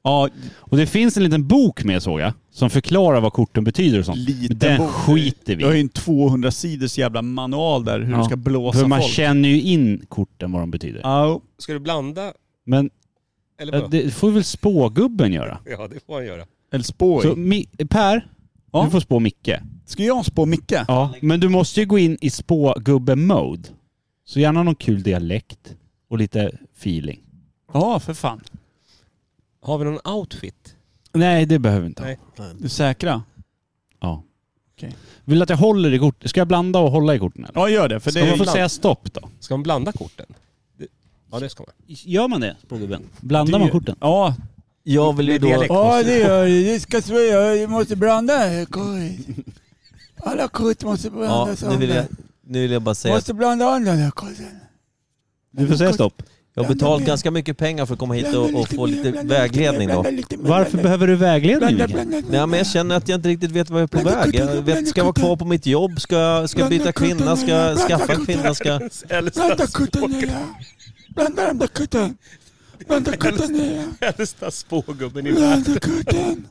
[SPEAKER 7] Ja,
[SPEAKER 1] Och det finns en liten bok med såg jag. Som förklarar vad korten betyder och sånt.
[SPEAKER 7] Liten
[SPEAKER 1] Men Den
[SPEAKER 7] bok.
[SPEAKER 1] skiter vi
[SPEAKER 7] jag har ju
[SPEAKER 1] i.
[SPEAKER 7] en 200 sidors jävla manual där hur
[SPEAKER 1] Ja.
[SPEAKER 7] du ska blåsa
[SPEAKER 1] För man
[SPEAKER 7] folk.
[SPEAKER 1] känner ju in korten vad de betyder.
[SPEAKER 7] Ja,
[SPEAKER 4] Ska du blanda?
[SPEAKER 1] Men
[SPEAKER 4] Eller
[SPEAKER 1] eh,
[SPEAKER 4] vadå?
[SPEAKER 1] det får väl spågubben göra.
[SPEAKER 4] Ja, det får han göra.
[SPEAKER 7] eller spå
[SPEAKER 1] Så
[SPEAKER 7] i.
[SPEAKER 1] Mi- Per,
[SPEAKER 7] Ja.
[SPEAKER 1] du får spå Micke.
[SPEAKER 7] Ska jag spå Micke?
[SPEAKER 1] Ja, men du måste ju gå in i spågubbe-mode. Så gärna någon kul dialekt och lite feeling.
[SPEAKER 7] Ja, för fan.
[SPEAKER 4] Har vi någon outfit?
[SPEAKER 1] Nej, det behöver vi inte. ha.
[SPEAKER 4] Nej.
[SPEAKER 7] Du är säkra?
[SPEAKER 1] Ja.
[SPEAKER 7] Okej.
[SPEAKER 1] Vill du att jag håller i korten? Ska jag blanda och hålla i korten eller?
[SPEAKER 7] Ja, gör det. För
[SPEAKER 1] Ska
[SPEAKER 7] det
[SPEAKER 1] man
[SPEAKER 7] är...
[SPEAKER 1] få säga stopp då?
[SPEAKER 4] Ska man blanda korten? Det- Ja, det ska man.
[SPEAKER 1] Gör man det, spågubben? Blandar man korten?
[SPEAKER 7] Ja.
[SPEAKER 2] Jag vill ju
[SPEAKER 4] Med dialekt.
[SPEAKER 2] då...
[SPEAKER 4] Ja,
[SPEAKER 7] det gör jag. Ska jag måste blanda kort. Alla kort måste
[SPEAKER 2] Ja, nu vill jag, nu vill jag bara säga att
[SPEAKER 7] blanda andra korten.
[SPEAKER 1] Du får säga stopp.
[SPEAKER 2] jag har betalat ganska mycket pengar för att komma hit och, och få lite vägledning då.
[SPEAKER 1] Varför behöver du vägledning Micke?
[SPEAKER 2] Nej men jag känner att jag inte riktigt vet vad jag är på väg. Jag vet, ska jag vara kvar på mitt jobb? Ska jag ska jag byta kvinna? Ska jag skaffa en kvinna? Ska jag...
[SPEAKER 4] Äldsta,
[SPEAKER 7] Blanda de där korten. Blanda korten.
[SPEAKER 4] äldsta spågubben i världen. <laughs>
[SPEAKER 7] korten.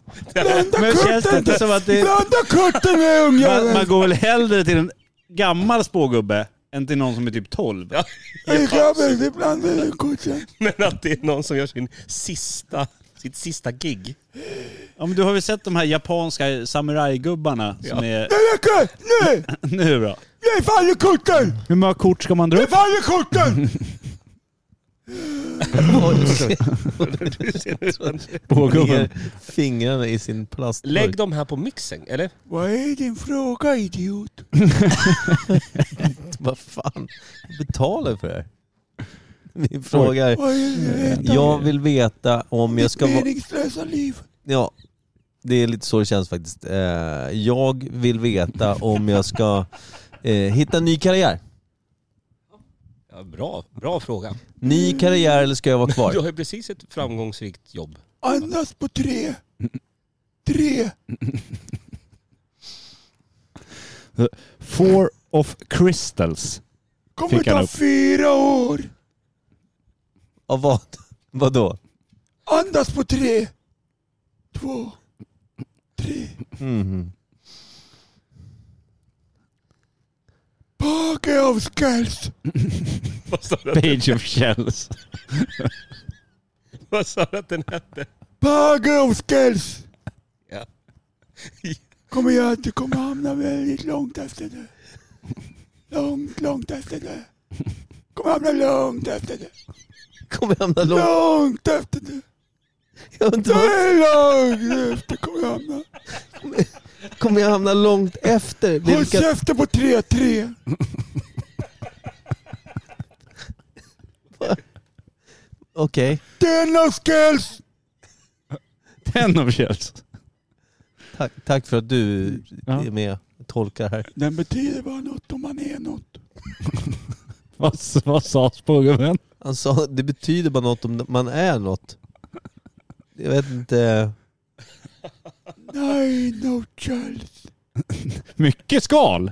[SPEAKER 1] Men känns det inte som att det...
[SPEAKER 7] Blanda korten med
[SPEAKER 1] Man, man går väl hellre till en gammal spågubbe än till någon som är typ 12?
[SPEAKER 4] Ja,
[SPEAKER 7] grabben, blanda korten.
[SPEAKER 4] <laughs> men att det är någon som gör sin sista, sitt sista gig.
[SPEAKER 1] Ja, men du har väl sett de här japanska samurajgubbarna som
[SPEAKER 4] Ja.
[SPEAKER 1] är...
[SPEAKER 7] räcker! Nu!
[SPEAKER 1] <laughs> Nu då?
[SPEAKER 7] Nu faller korten!
[SPEAKER 1] Hur många kort ska man dra upp?
[SPEAKER 7] faller korten!
[SPEAKER 2] Ner fingrarna i sin plastburk.
[SPEAKER 4] Lägg dem här på mixen, eller?
[SPEAKER 7] Vad är din fråga idiot?
[SPEAKER 2] Vad fan? Jag betalar för det här. Min fråga är...
[SPEAKER 7] Vad är det?
[SPEAKER 2] Jag vill veta om jag ska vara...
[SPEAKER 7] Meningslösa liv.
[SPEAKER 2] Ja, det är lite så det känns faktiskt. Eh, Jag vill veta om jag ska eh, hitta en ny karriär.
[SPEAKER 4] Ja, bra, bra fråga.
[SPEAKER 2] Ny karriär eller ska jag vara
[SPEAKER 1] <laughs>
[SPEAKER 4] Du
[SPEAKER 2] kvar?
[SPEAKER 4] har ju precis ett framgångsrikt jobb.
[SPEAKER 7] Andas på tre. Tre.
[SPEAKER 1] Four of crystals.
[SPEAKER 7] Kommer
[SPEAKER 1] Fick han
[SPEAKER 7] ta
[SPEAKER 1] upp.
[SPEAKER 7] fyra år.
[SPEAKER 2] Av vad? Vadå?
[SPEAKER 7] Andas på tre. Två. Tre.
[SPEAKER 2] Mhm.
[SPEAKER 7] Pake av skulls.
[SPEAKER 4] Vad sa du att-
[SPEAKER 1] Page of shells.
[SPEAKER 4] vad sa du att den hette?
[SPEAKER 7] Pake av skulls.
[SPEAKER 4] Ja.
[SPEAKER 7] Kommer jag att du kommer hamna väldigt långt efter det. Långt, långt efter det. Kommer hamna långt efter det.
[SPEAKER 2] Kommer jag hamna långt?
[SPEAKER 7] Långt efter det.
[SPEAKER 2] Jag undrar vad-
[SPEAKER 7] Långt efter kommer jag hamna.
[SPEAKER 2] Kommer jag hamna långt efter?
[SPEAKER 7] Håll
[SPEAKER 2] Vilka...
[SPEAKER 7] käften på 3-3.
[SPEAKER 2] Okej.
[SPEAKER 7] Den av skulls.
[SPEAKER 1] Ten of shells.
[SPEAKER 2] Tack, tack för att du
[SPEAKER 1] Ja.
[SPEAKER 2] är med och tolkar här.
[SPEAKER 7] Den betyder bara något om man är något.
[SPEAKER 1] Vad, vad sa spågubben?
[SPEAKER 2] Han sa det betyder bara något om man är något. Jag vet inte.
[SPEAKER 3] Nej, no chance.
[SPEAKER 1] Mycket skal!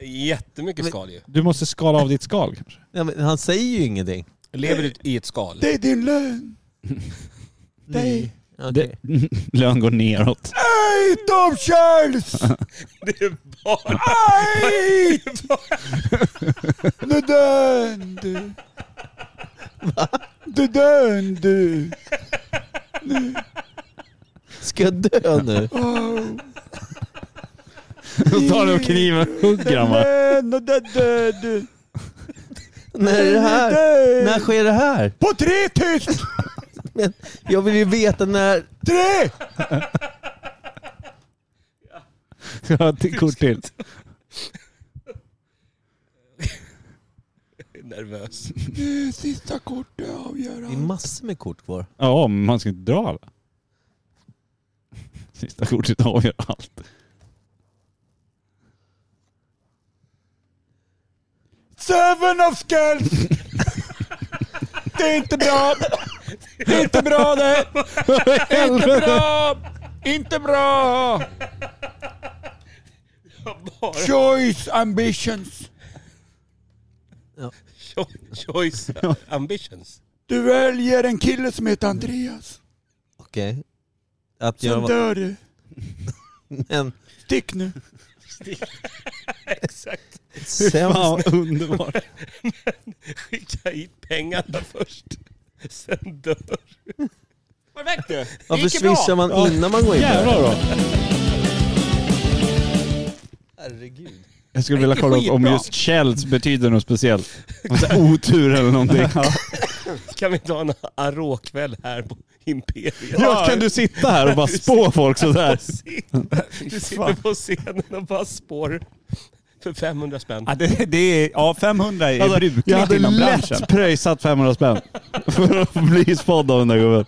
[SPEAKER 4] Jättemycket skal ju.
[SPEAKER 1] Du måste skala av ditt skal kanske.
[SPEAKER 2] Ja, men han säger ju ingenting.
[SPEAKER 4] Lever du i ett skal?
[SPEAKER 3] Det är din lön. Nej.
[SPEAKER 2] Okej.
[SPEAKER 1] Det, lön går neråt.
[SPEAKER 3] Nej, no chance.
[SPEAKER 4] Det är bara...
[SPEAKER 3] Nej! Du är död. Du är död du.
[SPEAKER 2] Ska jag dö nu?
[SPEAKER 3] Oh.
[SPEAKER 1] Då tar du och kniven och hugger han va?
[SPEAKER 3] Den och den död.
[SPEAKER 2] När är det här? När
[SPEAKER 3] Död.
[SPEAKER 2] sker det här?
[SPEAKER 3] På tre tyst!
[SPEAKER 2] <laughs> Men jag vill ju veta när...
[SPEAKER 3] Tre!
[SPEAKER 1] Ska jag ha ett kort till?
[SPEAKER 4] Nervös.
[SPEAKER 3] Sista kortet avgör
[SPEAKER 2] Det är massor med kort kvar.
[SPEAKER 1] Ja, men man ska inte dra alla. Sista kortet avgör allt.
[SPEAKER 3] Seven of skulls! Det är inte bra! Det är inte bra det! Det är inte bra! Inte bra! Choice ambitions.
[SPEAKER 4] Cho- Choice ambitions.
[SPEAKER 3] Du väljer en kille som heter Andreas.
[SPEAKER 2] Okej. Att göra
[SPEAKER 3] Sen
[SPEAKER 2] vad?
[SPEAKER 3] dör du.
[SPEAKER 2] <laughs> Men
[SPEAKER 3] Stick nu.
[SPEAKER 4] Exakt.
[SPEAKER 2] sämst...
[SPEAKER 1] vad underbart.
[SPEAKER 4] Skicka hit pengarna först. Sen dör
[SPEAKER 3] Perfekt du.
[SPEAKER 2] Varför swishar man innan man går in där?
[SPEAKER 1] Jävlar då.
[SPEAKER 2] Herregud.
[SPEAKER 1] Jag skulle vilja kolla upp om just Kjells betyder något speciellt. Om så här Otur eller någonting.
[SPEAKER 4] Kan vi inte ha en aråkväll här på Imperiet?
[SPEAKER 1] Ja, kan du sitta här och bara spå folk sådär?
[SPEAKER 4] Du sitter på scenen och bara spår för 500 spänn.
[SPEAKER 3] Ja, det, det är, ja 500 är
[SPEAKER 1] Alltså,
[SPEAKER 3] brukligt
[SPEAKER 1] jag hade
[SPEAKER 3] inom branschen.
[SPEAKER 1] lätt pröjsat 500 spänn för att bli spådd av den där gubben.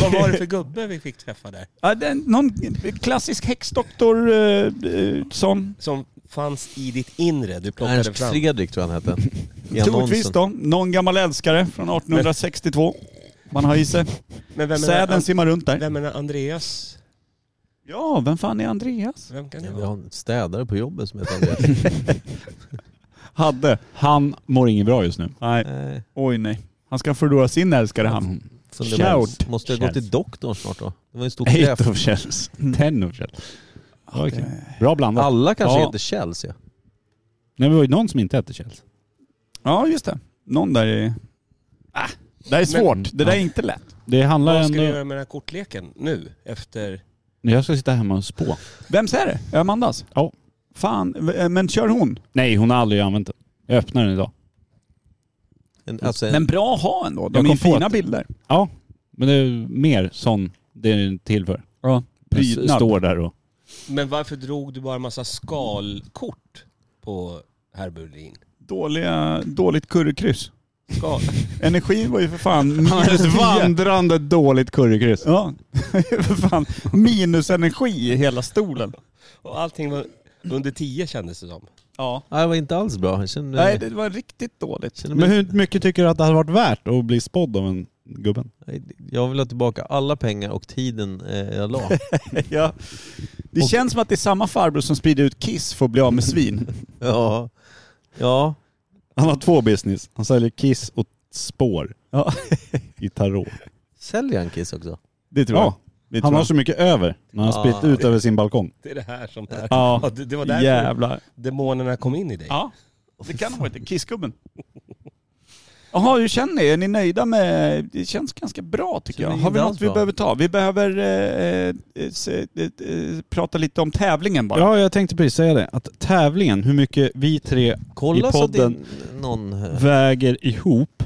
[SPEAKER 4] Vad var det för gubbe vi fick träffa där?
[SPEAKER 3] Ja, det är någon klassisk häxdoktor eh, eh, sån.
[SPEAKER 4] Som fanns i ditt inre, du plockade
[SPEAKER 2] Ernst
[SPEAKER 4] fram.
[SPEAKER 2] Fredrik tror jag han
[SPEAKER 3] <laughs>
[SPEAKER 2] hette. I
[SPEAKER 3] Troligtvis
[SPEAKER 2] annonsen.
[SPEAKER 3] då. Någon gammal älskare från 1862. Man har i
[SPEAKER 1] <laughs>
[SPEAKER 3] sig.
[SPEAKER 4] Men vem är,
[SPEAKER 3] Säden
[SPEAKER 4] an,
[SPEAKER 3] simmar runt där.
[SPEAKER 4] vem är Andreas?
[SPEAKER 3] Ja, vem fan är Andreas?
[SPEAKER 4] Vem kan det
[SPEAKER 2] Ja, Vi
[SPEAKER 4] vara?
[SPEAKER 2] har en städare på jobbet som heter
[SPEAKER 3] <laughs>
[SPEAKER 2] Andreas.
[SPEAKER 1] Hade. Han mår inget bra just nu.
[SPEAKER 3] Nej,
[SPEAKER 2] Nej.
[SPEAKER 3] oj nej. Han ska förlora sin älskare
[SPEAKER 1] Mm.
[SPEAKER 3] han.
[SPEAKER 2] funderar man,
[SPEAKER 1] Shout.
[SPEAKER 2] Måste jag gå till doktorn snart då? Det var ju en stor
[SPEAKER 1] Eight
[SPEAKER 2] kräft.
[SPEAKER 1] of Shells.
[SPEAKER 3] Mm.
[SPEAKER 1] Ten of Shells. Ja, okej. Bra blandat.
[SPEAKER 2] Alla kanske
[SPEAKER 1] Ja.
[SPEAKER 2] heter Chelsea.
[SPEAKER 1] Nej, men det var ju någon som inte hette Shells.
[SPEAKER 3] Ja, just det. Någon där är... Äh, det där är svårt.
[SPEAKER 1] Men-
[SPEAKER 3] det där är
[SPEAKER 1] Ja.
[SPEAKER 3] inte lätt.
[SPEAKER 1] Det handlar
[SPEAKER 4] Vad ska du
[SPEAKER 1] ändå...
[SPEAKER 4] göra med den här kortleken nu? Efter...
[SPEAKER 1] Jag ska sitta hemma och spå.
[SPEAKER 3] Vems är det? alltså? Amandas?
[SPEAKER 1] Ja.
[SPEAKER 3] Fan, v- eh, men kör hon.
[SPEAKER 1] Nej, hon har aldrig använt den. Jag öppnar den idag.
[SPEAKER 2] En, alltså
[SPEAKER 3] Men
[SPEAKER 2] en,
[SPEAKER 3] bra att ha ändå.
[SPEAKER 1] Jag
[SPEAKER 3] De är
[SPEAKER 1] kom
[SPEAKER 3] ju
[SPEAKER 1] på
[SPEAKER 3] fina
[SPEAKER 1] att-
[SPEAKER 3] bilder.
[SPEAKER 1] Ja, men det är mer sån det är den till för.
[SPEAKER 3] Ja.
[SPEAKER 1] Den s-
[SPEAKER 3] Prydnad.
[SPEAKER 1] står där och...
[SPEAKER 4] Men varför drog du bara massa skalkort på herr Berlin?
[SPEAKER 3] Dåliga, dåligt currykryss.
[SPEAKER 4] Skal.
[SPEAKER 3] Energin var ju för fan
[SPEAKER 1] Han hade
[SPEAKER 3] minus
[SPEAKER 1] ett
[SPEAKER 3] 10.
[SPEAKER 1] vandrande dåligt currykryss.
[SPEAKER 3] Ja, <laughs> för fan. Minusenergi i hela stolen.
[SPEAKER 4] <laughs> Och allting var under 10 kändes det som.
[SPEAKER 3] Ja.
[SPEAKER 2] nej, det var inte alls bra. Jag kände,
[SPEAKER 3] Nej, det var riktigt dåligt.
[SPEAKER 2] kände mig,
[SPEAKER 1] Men hur mycket tycker du att det hade varit värt att bli spådd av en gubben?
[SPEAKER 2] nej, jag vill ha tillbaka alla pengar och tiden eh, jag la.
[SPEAKER 3] Ja. Det känns som att det är samma farbror som sprider ut Kiss för att bli av med svin.
[SPEAKER 2] ja. ja,
[SPEAKER 1] <laughs> Han har två business. Han säljer kiss och spår
[SPEAKER 3] Ja,
[SPEAKER 1] i tarot.
[SPEAKER 2] säljer han Kiss också?
[SPEAKER 3] det tror
[SPEAKER 1] Ja,
[SPEAKER 3] jag. Det
[SPEAKER 1] Han
[SPEAKER 3] tror
[SPEAKER 1] har
[SPEAKER 3] jag.
[SPEAKER 1] så mycket över när han har spritt
[SPEAKER 2] Ah.
[SPEAKER 1] ut över sin balkong.
[SPEAKER 4] Det är det här som... Där.
[SPEAKER 3] <laughs> Ja.
[SPEAKER 4] det, det var därför
[SPEAKER 3] Jävlar.
[SPEAKER 4] demonerna kom in i dig.
[SPEAKER 3] Ja, det kan vara det. Kissgubben. Jaha, hur känner ni? Är ni nöjda med... Det känns ganska bra tycker jag.
[SPEAKER 2] Känner
[SPEAKER 3] Har vi
[SPEAKER 2] inte
[SPEAKER 3] något
[SPEAKER 2] alls
[SPEAKER 3] vi
[SPEAKER 2] bra.
[SPEAKER 3] behöver ta? Vi behöver eh, eh, se, eh, eh, prata lite om tävlingen bara.
[SPEAKER 1] Ja, jag tänkte precis säga det. Att tävlingen, hur mycket vi tre
[SPEAKER 2] Kolla
[SPEAKER 1] i
[SPEAKER 2] så att det
[SPEAKER 1] podden
[SPEAKER 2] är någon... eh,
[SPEAKER 1] väger ihop.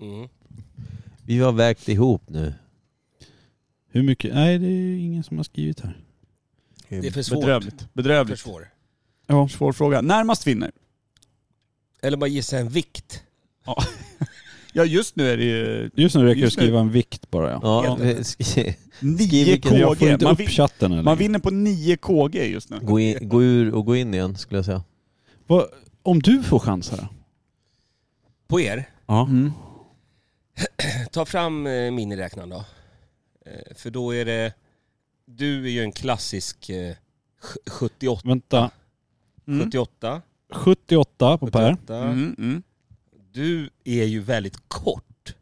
[SPEAKER 4] Mm.
[SPEAKER 2] Vi har vägt ihop nu.
[SPEAKER 1] Hur mycket? Nej, det är ingen som har skrivit här.
[SPEAKER 4] Det är för svårt.
[SPEAKER 3] Bedrövligt.
[SPEAKER 4] För
[SPEAKER 3] Bedrövligt.
[SPEAKER 4] svår.
[SPEAKER 3] Ja. Svår fråga. Närmast vinner.
[SPEAKER 4] Eller bara gissa en vikt.
[SPEAKER 3] Ja, just nu är det ju
[SPEAKER 1] Just nu räcker det att
[SPEAKER 3] Just nu.
[SPEAKER 1] skriva en vikt bara. Ja.
[SPEAKER 2] Ja, vi ska-
[SPEAKER 3] 9
[SPEAKER 2] vilken-
[SPEAKER 1] Jag får
[SPEAKER 3] kg.
[SPEAKER 1] inte
[SPEAKER 3] Man,
[SPEAKER 1] upp
[SPEAKER 3] vin,
[SPEAKER 1] chatten eller?
[SPEAKER 3] man vinner på 9 kg just nu.
[SPEAKER 2] gå, in, gå ur och gå in igen skulle jag säga.
[SPEAKER 1] Vad- om du får chans här då?
[SPEAKER 4] På er,
[SPEAKER 1] Ja.
[SPEAKER 3] Mm.
[SPEAKER 4] <clears throat> ta fram eh, miniräknaren då. Eh, För då är det... Du är ju en klassisk eh, sj- 78.
[SPEAKER 1] Vänta.
[SPEAKER 3] Mm.
[SPEAKER 4] 78.
[SPEAKER 1] 78 på Per.
[SPEAKER 4] 78.
[SPEAKER 3] Mm, mm.
[SPEAKER 4] Du är ju väldigt kort.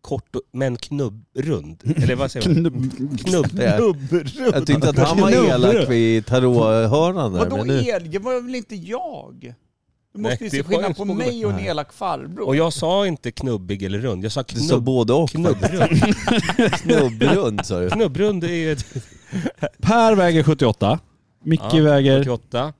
[SPEAKER 4] Kort och, men knubbrund. Eller
[SPEAKER 1] <laughs>
[SPEAKER 4] vad säger man? Knubb.
[SPEAKER 2] Jag tyckte att han var elak vid tarothörnan där.
[SPEAKER 3] Vadå
[SPEAKER 2] Men nu,
[SPEAKER 3] el? Det var väl inte jag? Du
[SPEAKER 4] Nej,
[SPEAKER 3] måste ju se
[SPEAKER 4] det var ju
[SPEAKER 3] skillnad på
[SPEAKER 4] inte så.
[SPEAKER 3] mig och en elak farbror.
[SPEAKER 4] Och jag sa inte knubbig eller rund. Jag sa
[SPEAKER 2] du sa
[SPEAKER 4] knubb.
[SPEAKER 2] både och.
[SPEAKER 4] Knubbrund.
[SPEAKER 2] Knubbrund sa du. <laughs>
[SPEAKER 4] Knubbrund är ju ett
[SPEAKER 1] Per väger 78. Micke
[SPEAKER 4] Ja,
[SPEAKER 1] väger...
[SPEAKER 4] 48.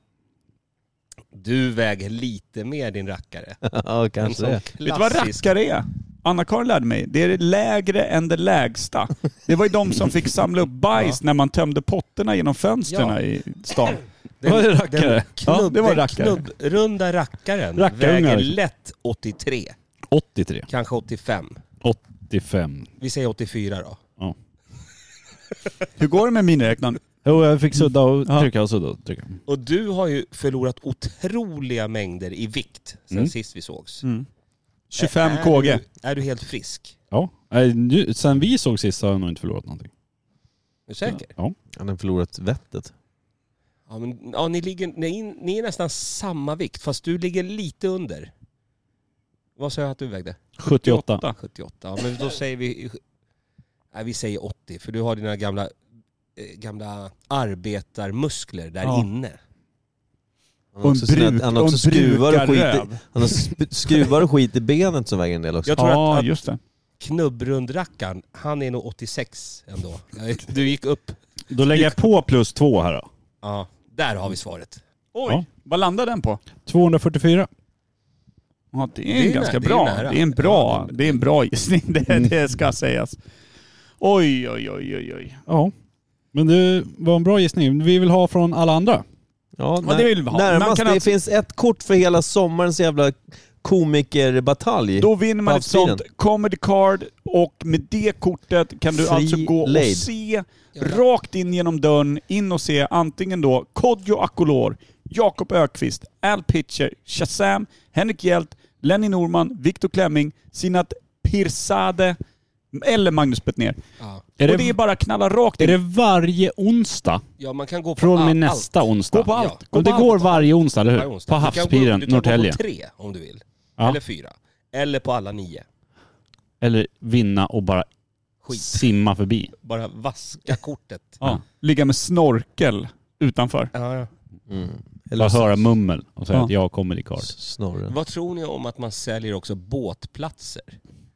[SPEAKER 4] Du väger lite mer din rackare.
[SPEAKER 2] Alltså, Ja,
[SPEAKER 4] En
[SPEAKER 2] kanske
[SPEAKER 4] sån
[SPEAKER 2] det.
[SPEAKER 3] Vet du vad
[SPEAKER 4] klassisk-
[SPEAKER 3] rackare är? Anna-Karin lärde mig. Det är det lägre än det lägsta. Det var ju de som fick samla
[SPEAKER 4] <laughs>
[SPEAKER 3] upp bajs när man tömde potterna genom fönstren
[SPEAKER 4] Ja.
[SPEAKER 3] i stan.
[SPEAKER 1] Vad är rackare?
[SPEAKER 3] Ja, det var
[SPEAKER 4] den
[SPEAKER 3] rackare.
[SPEAKER 4] Knubbrunda rackaren
[SPEAKER 1] Rackarungar.
[SPEAKER 4] väger lätt 83,
[SPEAKER 1] 83.
[SPEAKER 4] kanske 85.
[SPEAKER 1] 85.
[SPEAKER 4] Vi säger 84 då.
[SPEAKER 3] Hur går det med miniräknaren?
[SPEAKER 1] Jo, jag fick sudda och trycka och sudda och trycka.
[SPEAKER 4] Och du har ju förlorat otroliga mängder i vikt sen
[SPEAKER 1] Mm.
[SPEAKER 4] sist vi sågs.
[SPEAKER 3] 25
[SPEAKER 4] Är
[SPEAKER 3] kg.
[SPEAKER 4] du- Är du helt frisk?
[SPEAKER 1] Ja. Nej, nu, sen vi såg sist har jag nog inte förlorat någonting.
[SPEAKER 4] Är du säker?
[SPEAKER 1] Ja.
[SPEAKER 2] Han har förlorat vettet.
[SPEAKER 4] Ja, men, ja ni, ligger, ni, ni är nästan samma vikt fast du ligger lite under. Vad sa jag att du vägde?
[SPEAKER 1] 78.
[SPEAKER 4] 78. Ja, men då säger vi... Nej, vi säger 80 för du har dina gamla, eh, gamla arbetarmuskler där
[SPEAKER 3] Ja.
[SPEAKER 4] inne.
[SPEAKER 2] Han
[SPEAKER 3] Och
[SPEAKER 2] har
[SPEAKER 3] en,
[SPEAKER 2] också, sina-
[SPEAKER 3] bruk,
[SPEAKER 2] han
[SPEAKER 3] och
[SPEAKER 2] har
[SPEAKER 3] en
[SPEAKER 2] också skruvar, och skit i,
[SPEAKER 3] brukarröv.
[SPEAKER 2] han har sp- skruvar och skit i benet som väger en del också.
[SPEAKER 4] Jag tror
[SPEAKER 3] Ja,
[SPEAKER 4] att, att
[SPEAKER 3] just det.
[SPEAKER 4] knubbrundrackaren, han är nog 86 ändå.
[SPEAKER 1] <laughs>
[SPEAKER 4] Du gick upp.
[SPEAKER 1] Då lägger jag på plus två här då.
[SPEAKER 4] Ja, där har vi svaret.
[SPEAKER 3] Oj,
[SPEAKER 1] Ja.
[SPEAKER 3] vad landar den på?
[SPEAKER 1] 244.
[SPEAKER 3] Ja, det
[SPEAKER 4] Det
[SPEAKER 3] är,
[SPEAKER 4] är
[SPEAKER 3] en ganska
[SPEAKER 4] nä- det är
[SPEAKER 3] bra. Det är,
[SPEAKER 4] nära.
[SPEAKER 3] en bra. Det är en bra gissning, <laughs> det, det ska sägas. Oj, oj, oj, oj, oj.
[SPEAKER 1] Ja. Men det var en bra gissning. Vi vill ha från alla andra.
[SPEAKER 2] Ja,
[SPEAKER 3] Ja, det vill vi ha. Man
[SPEAKER 2] Närmast,
[SPEAKER 3] kan
[SPEAKER 2] det
[SPEAKER 3] alltså-
[SPEAKER 2] finns ett kort för hela sommarens jävla komikerbatalj.
[SPEAKER 3] Då vinner man ett
[SPEAKER 2] Havsfriden.
[SPEAKER 3] sånt comedy card och med det kortet kan du
[SPEAKER 2] Fri
[SPEAKER 3] alltså gå och
[SPEAKER 2] lejd.
[SPEAKER 3] se rakt in genom dörren, in och se antingen då Kodjo Akolor, Jakob Ökvist, Al Pitcher, Shazam, Henrik Hjelt, Lenny Norman, Viktor Klemming, Sinat Pirsade eller Magnus Bettner.
[SPEAKER 4] Ja,
[SPEAKER 1] Är
[SPEAKER 3] och det är
[SPEAKER 1] det,
[SPEAKER 3] bara att knalla rakt
[SPEAKER 1] är
[SPEAKER 3] in.
[SPEAKER 1] det varje onsdag?
[SPEAKER 4] ja man kan gå på
[SPEAKER 1] Från och med
[SPEAKER 4] all-
[SPEAKER 1] nästa
[SPEAKER 4] allt.
[SPEAKER 1] onsdag?
[SPEAKER 4] Gå på allt.
[SPEAKER 1] Ja.
[SPEAKER 4] Gå
[SPEAKER 1] Och
[SPEAKER 4] på
[SPEAKER 1] det
[SPEAKER 4] allt.
[SPEAKER 1] går varje onsdag, eller
[SPEAKER 4] varje
[SPEAKER 1] hur?
[SPEAKER 4] onsdag.
[SPEAKER 1] På
[SPEAKER 4] Du kan gå-
[SPEAKER 1] Havspiren,
[SPEAKER 4] du kan gå på
[SPEAKER 1] Norrtälje.
[SPEAKER 4] tre om du vill.
[SPEAKER 1] Ja.
[SPEAKER 4] Eller fyra. Eller på alla nio.
[SPEAKER 1] Eller vinna och bara
[SPEAKER 4] Skit.
[SPEAKER 1] simma förbi.
[SPEAKER 4] Bara vaska kortet.
[SPEAKER 3] Ja, ligga med snorkel utanför.
[SPEAKER 4] Ja, ja.
[SPEAKER 1] Bara
[SPEAKER 2] Eller
[SPEAKER 1] höra mummel och säga
[SPEAKER 3] Ja.
[SPEAKER 1] att jag kommer i card.
[SPEAKER 2] snorren.
[SPEAKER 4] Vad tror ni om att man säljer också båtplatser?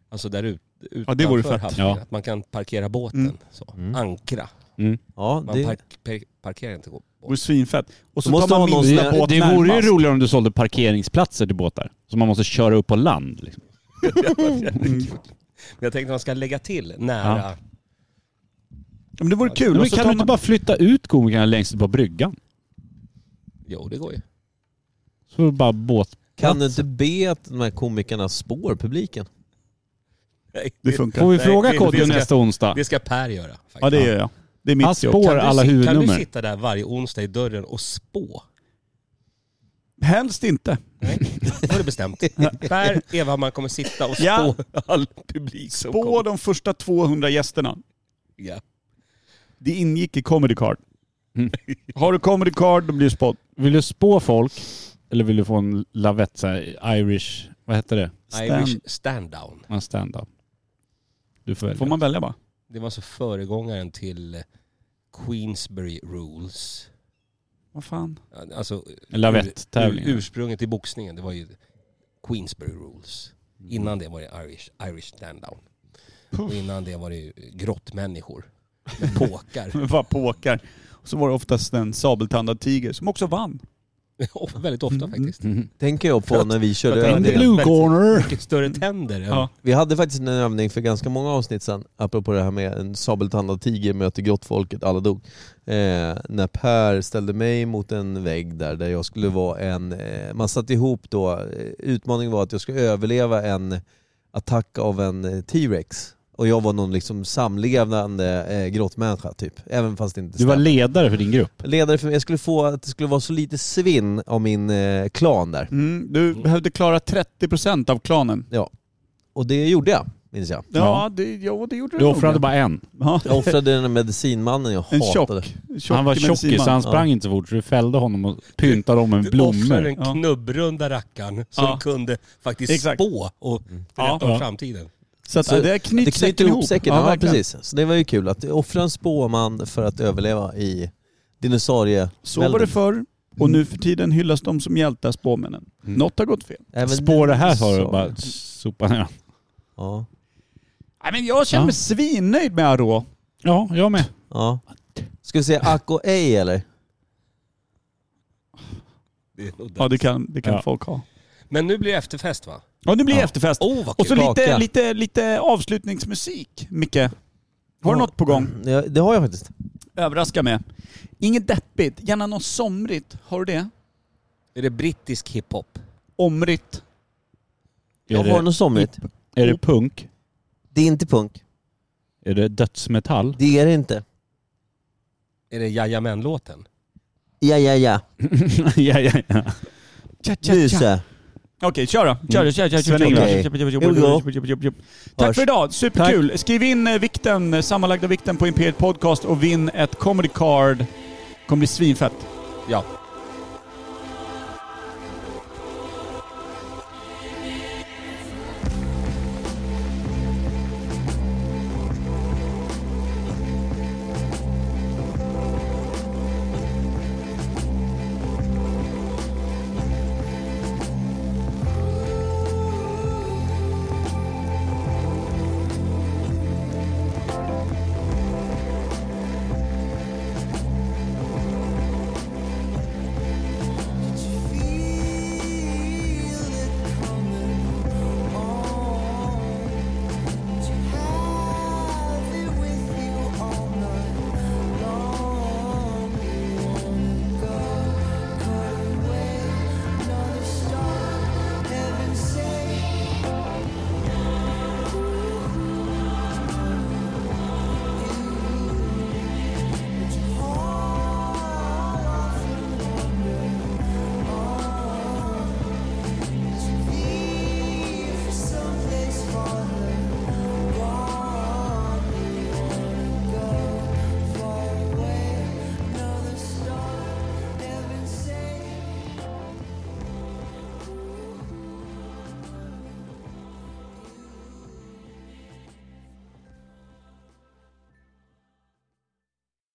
[SPEAKER 4] Alltså där ut, utanför
[SPEAKER 3] det vore fett.
[SPEAKER 4] havsbryggan.
[SPEAKER 1] Ja.
[SPEAKER 4] Att man kan parkera båten.
[SPEAKER 3] Mm.
[SPEAKER 4] Så.
[SPEAKER 2] Mm.
[SPEAKER 4] Ankra.
[SPEAKER 2] Ja,
[SPEAKER 4] Man
[SPEAKER 2] det,
[SPEAKER 4] park, per, parkerar inte båten.
[SPEAKER 3] Det vore svinfett. Och så
[SPEAKER 2] Då måste
[SPEAKER 3] tar man
[SPEAKER 2] man ha någon
[SPEAKER 3] minsta
[SPEAKER 2] sån här-
[SPEAKER 3] båt
[SPEAKER 1] Det vore ju
[SPEAKER 3] närmast.
[SPEAKER 1] roligare om du sålde parkeringsplatser till båtar. Som man måste köra upp på land. Liksom.
[SPEAKER 4] Men jag tänkte att man ska lägga till nära.
[SPEAKER 3] Men det vore kul.
[SPEAKER 1] Men
[SPEAKER 3] Och så
[SPEAKER 1] kan
[SPEAKER 3] tar
[SPEAKER 1] du inte
[SPEAKER 3] man-
[SPEAKER 1] bara flytta ut komikerna längst ut på bryggan?
[SPEAKER 4] Jo, det går ju.
[SPEAKER 1] Så får du bara båt...
[SPEAKER 2] kan du inte be att de här komikerna spår publiken?
[SPEAKER 4] Nej,
[SPEAKER 3] Det funkar.
[SPEAKER 1] Får vi
[SPEAKER 4] Nej,
[SPEAKER 1] fråga
[SPEAKER 4] det-
[SPEAKER 1] Kodjo
[SPEAKER 4] det ska-
[SPEAKER 1] nästa onsdag?
[SPEAKER 4] Det ska Per göra. Faktiskt.
[SPEAKER 3] Ja det gör jag. Det är
[SPEAKER 1] Han
[SPEAKER 3] mitt jobb.
[SPEAKER 1] spår
[SPEAKER 4] Kan du
[SPEAKER 1] alla
[SPEAKER 4] sit- Kan du
[SPEAKER 1] huvudnummer.
[SPEAKER 4] sitta där varje onsdag i dörren och spå?
[SPEAKER 3] Helst inte.
[SPEAKER 4] Nej, då är det bestämt. Per Evhammar kommer sitta och spå
[SPEAKER 3] Ja.
[SPEAKER 4] all publik som
[SPEAKER 3] Spå
[SPEAKER 4] kommer.
[SPEAKER 3] de första 200 gästerna.
[SPEAKER 4] Ja.
[SPEAKER 3] Det ingick i Comedy Card. Mm. <laughs> Har du Comedy Card då blir du spådd.
[SPEAKER 1] Vill du spå folk? Eller vill du få en lavett så här, Irish... Vad heter det?
[SPEAKER 4] Irish stand down.
[SPEAKER 1] En stand-up. Du får välja.
[SPEAKER 3] Får man välja va?
[SPEAKER 4] Det var alltså föregångaren till Queensbury Rules.
[SPEAKER 3] Vad fan?
[SPEAKER 4] Alltså
[SPEAKER 1] En lavett-tävling.
[SPEAKER 4] ur, ursprunget till boxningen, det var ju Queensbury Rules.
[SPEAKER 3] Mm.
[SPEAKER 4] Innan det var det Irish, Irish stand down. Och innan det var det ju grottmänniskor med påkar.
[SPEAKER 3] <laughs> Vad påkar. Och så var det oftast en sabeltandad tiger som också vann. Mm.
[SPEAKER 4] Och Väldigt <laughs> ofta faktiskt.
[SPEAKER 2] Tänker jag på när vi körde
[SPEAKER 4] för att-
[SPEAKER 1] En
[SPEAKER 4] det är
[SPEAKER 2] övningen.
[SPEAKER 1] blue
[SPEAKER 4] väldigt-
[SPEAKER 1] corner!
[SPEAKER 4] Mycket större tänder än...
[SPEAKER 3] Ja.
[SPEAKER 2] Vi hade faktiskt en övning för ganska många avsnitt sedan, apropå det här med en sabeltandad tiger möter grottfolket, alla dog. Eh, när Per ställde mig mot en vägg där, där jag skulle vara en... Eh, man satte ihop då, eh, utmaningen var att jag skulle överleva en attack av en eh, T-rex. Och jag var någon liksom samlevande eh, grottmänniska typ. Även fast det inte
[SPEAKER 1] Du var
[SPEAKER 2] stämde.
[SPEAKER 1] ledare för din grupp.
[SPEAKER 2] ledare för Jag skulle få att det skulle vara så lite svinn av min eh, klan där.
[SPEAKER 3] Mm, du behövde klara 30% av klanen.
[SPEAKER 2] Ja. Och det gjorde jag, minns jag.
[SPEAKER 3] Ja,
[SPEAKER 1] Ja.
[SPEAKER 3] Det, ja det gjorde
[SPEAKER 1] Du
[SPEAKER 3] nog,
[SPEAKER 1] offrade
[SPEAKER 3] ja.
[SPEAKER 1] bara en.
[SPEAKER 3] Ja.
[SPEAKER 2] Jag offrade den där medicinmannen jag
[SPEAKER 3] En
[SPEAKER 2] hatade.
[SPEAKER 3] tjock. tjock
[SPEAKER 1] han var tjockis så
[SPEAKER 3] medicinman.
[SPEAKER 1] han sprang inte så fort så du fällde honom och pyntade om en
[SPEAKER 4] Du offrade
[SPEAKER 1] blommor.
[SPEAKER 4] den
[SPEAKER 3] Ja.
[SPEAKER 4] knubbrunda rackaren som
[SPEAKER 3] Ja.
[SPEAKER 4] kunde faktiskt
[SPEAKER 3] Exakt.
[SPEAKER 4] spå och berätta om
[SPEAKER 1] Ja.
[SPEAKER 4] framtiden.
[SPEAKER 3] Så, att,
[SPEAKER 2] Så
[SPEAKER 3] ja, det knyter
[SPEAKER 2] Det knyter ihop säcken, ja,
[SPEAKER 3] verkligen.
[SPEAKER 2] precis. Så det var ju kul att offra en spåman för att överleva i dinosaurie
[SPEAKER 3] Så var det förr. Och nu för tiden hyllas de som hjältar, spåmännen. Något har gått fel.
[SPEAKER 2] Även
[SPEAKER 1] Spår det här sa du
[SPEAKER 2] dinosaurie.
[SPEAKER 1] bara sopa ner
[SPEAKER 2] Ja.
[SPEAKER 3] Nej, men jag känner mig
[SPEAKER 1] Ja.
[SPEAKER 3] svinnöjd med Arå.
[SPEAKER 1] Ja, jag med.
[SPEAKER 2] ja. Ska vi säga ack och ej eller?
[SPEAKER 4] Det är nog
[SPEAKER 3] Ja,
[SPEAKER 4] det.
[SPEAKER 3] det kan, det kan
[SPEAKER 1] Ja.
[SPEAKER 3] folk ha.
[SPEAKER 4] Men nu blir det efterfest va?
[SPEAKER 3] Ja, nu blir det
[SPEAKER 2] Ja.
[SPEAKER 3] efterfest.
[SPEAKER 4] Åh vad
[SPEAKER 3] Och
[SPEAKER 4] kul!
[SPEAKER 3] så
[SPEAKER 2] Kaka.
[SPEAKER 3] lite, lite, lite avslutningsmusik, Micke. Har du något på gång?
[SPEAKER 2] Ja, det har jag faktiskt.
[SPEAKER 3] Överraska med. Inget deppigt, gärna något somrigt. Har du det?
[SPEAKER 4] Är det brittisk hiphop?
[SPEAKER 3] Omrigt.
[SPEAKER 2] Jag
[SPEAKER 1] Är
[SPEAKER 2] har
[SPEAKER 1] det,
[SPEAKER 2] något somrigt.
[SPEAKER 1] är det punk?
[SPEAKER 2] Det är inte punk.
[SPEAKER 1] Är det
[SPEAKER 4] <laughs>
[SPEAKER 1] dödsmetall?
[SPEAKER 2] Det är det inte.
[SPEAKER 4] Är det Jajamän-låten?
[SPEAKER 2] Ja, ja, ja.
[SPEAKER 1] ja, ja, ja.
[SPEAKER 3] Tja, tja, tja.
[SPEAKER 2] Muse.
[SPEAKER 3] Okej, kör då. Kör, kör, kör, kör,
[SPEAKER 2] Mm. Sven-Ingvar.
[SPEAKER 3] kör, kör. Tack
[SPEAKER 2] Hörs.
[SPEAKER 3] för idag, superkul. Skriv in eh, vikten, eh, sammanlagda vikten på Imperiet Podcast och vinn ett Comedy Card. kommer bli svinfett.
[SPEAKER 4] Ja.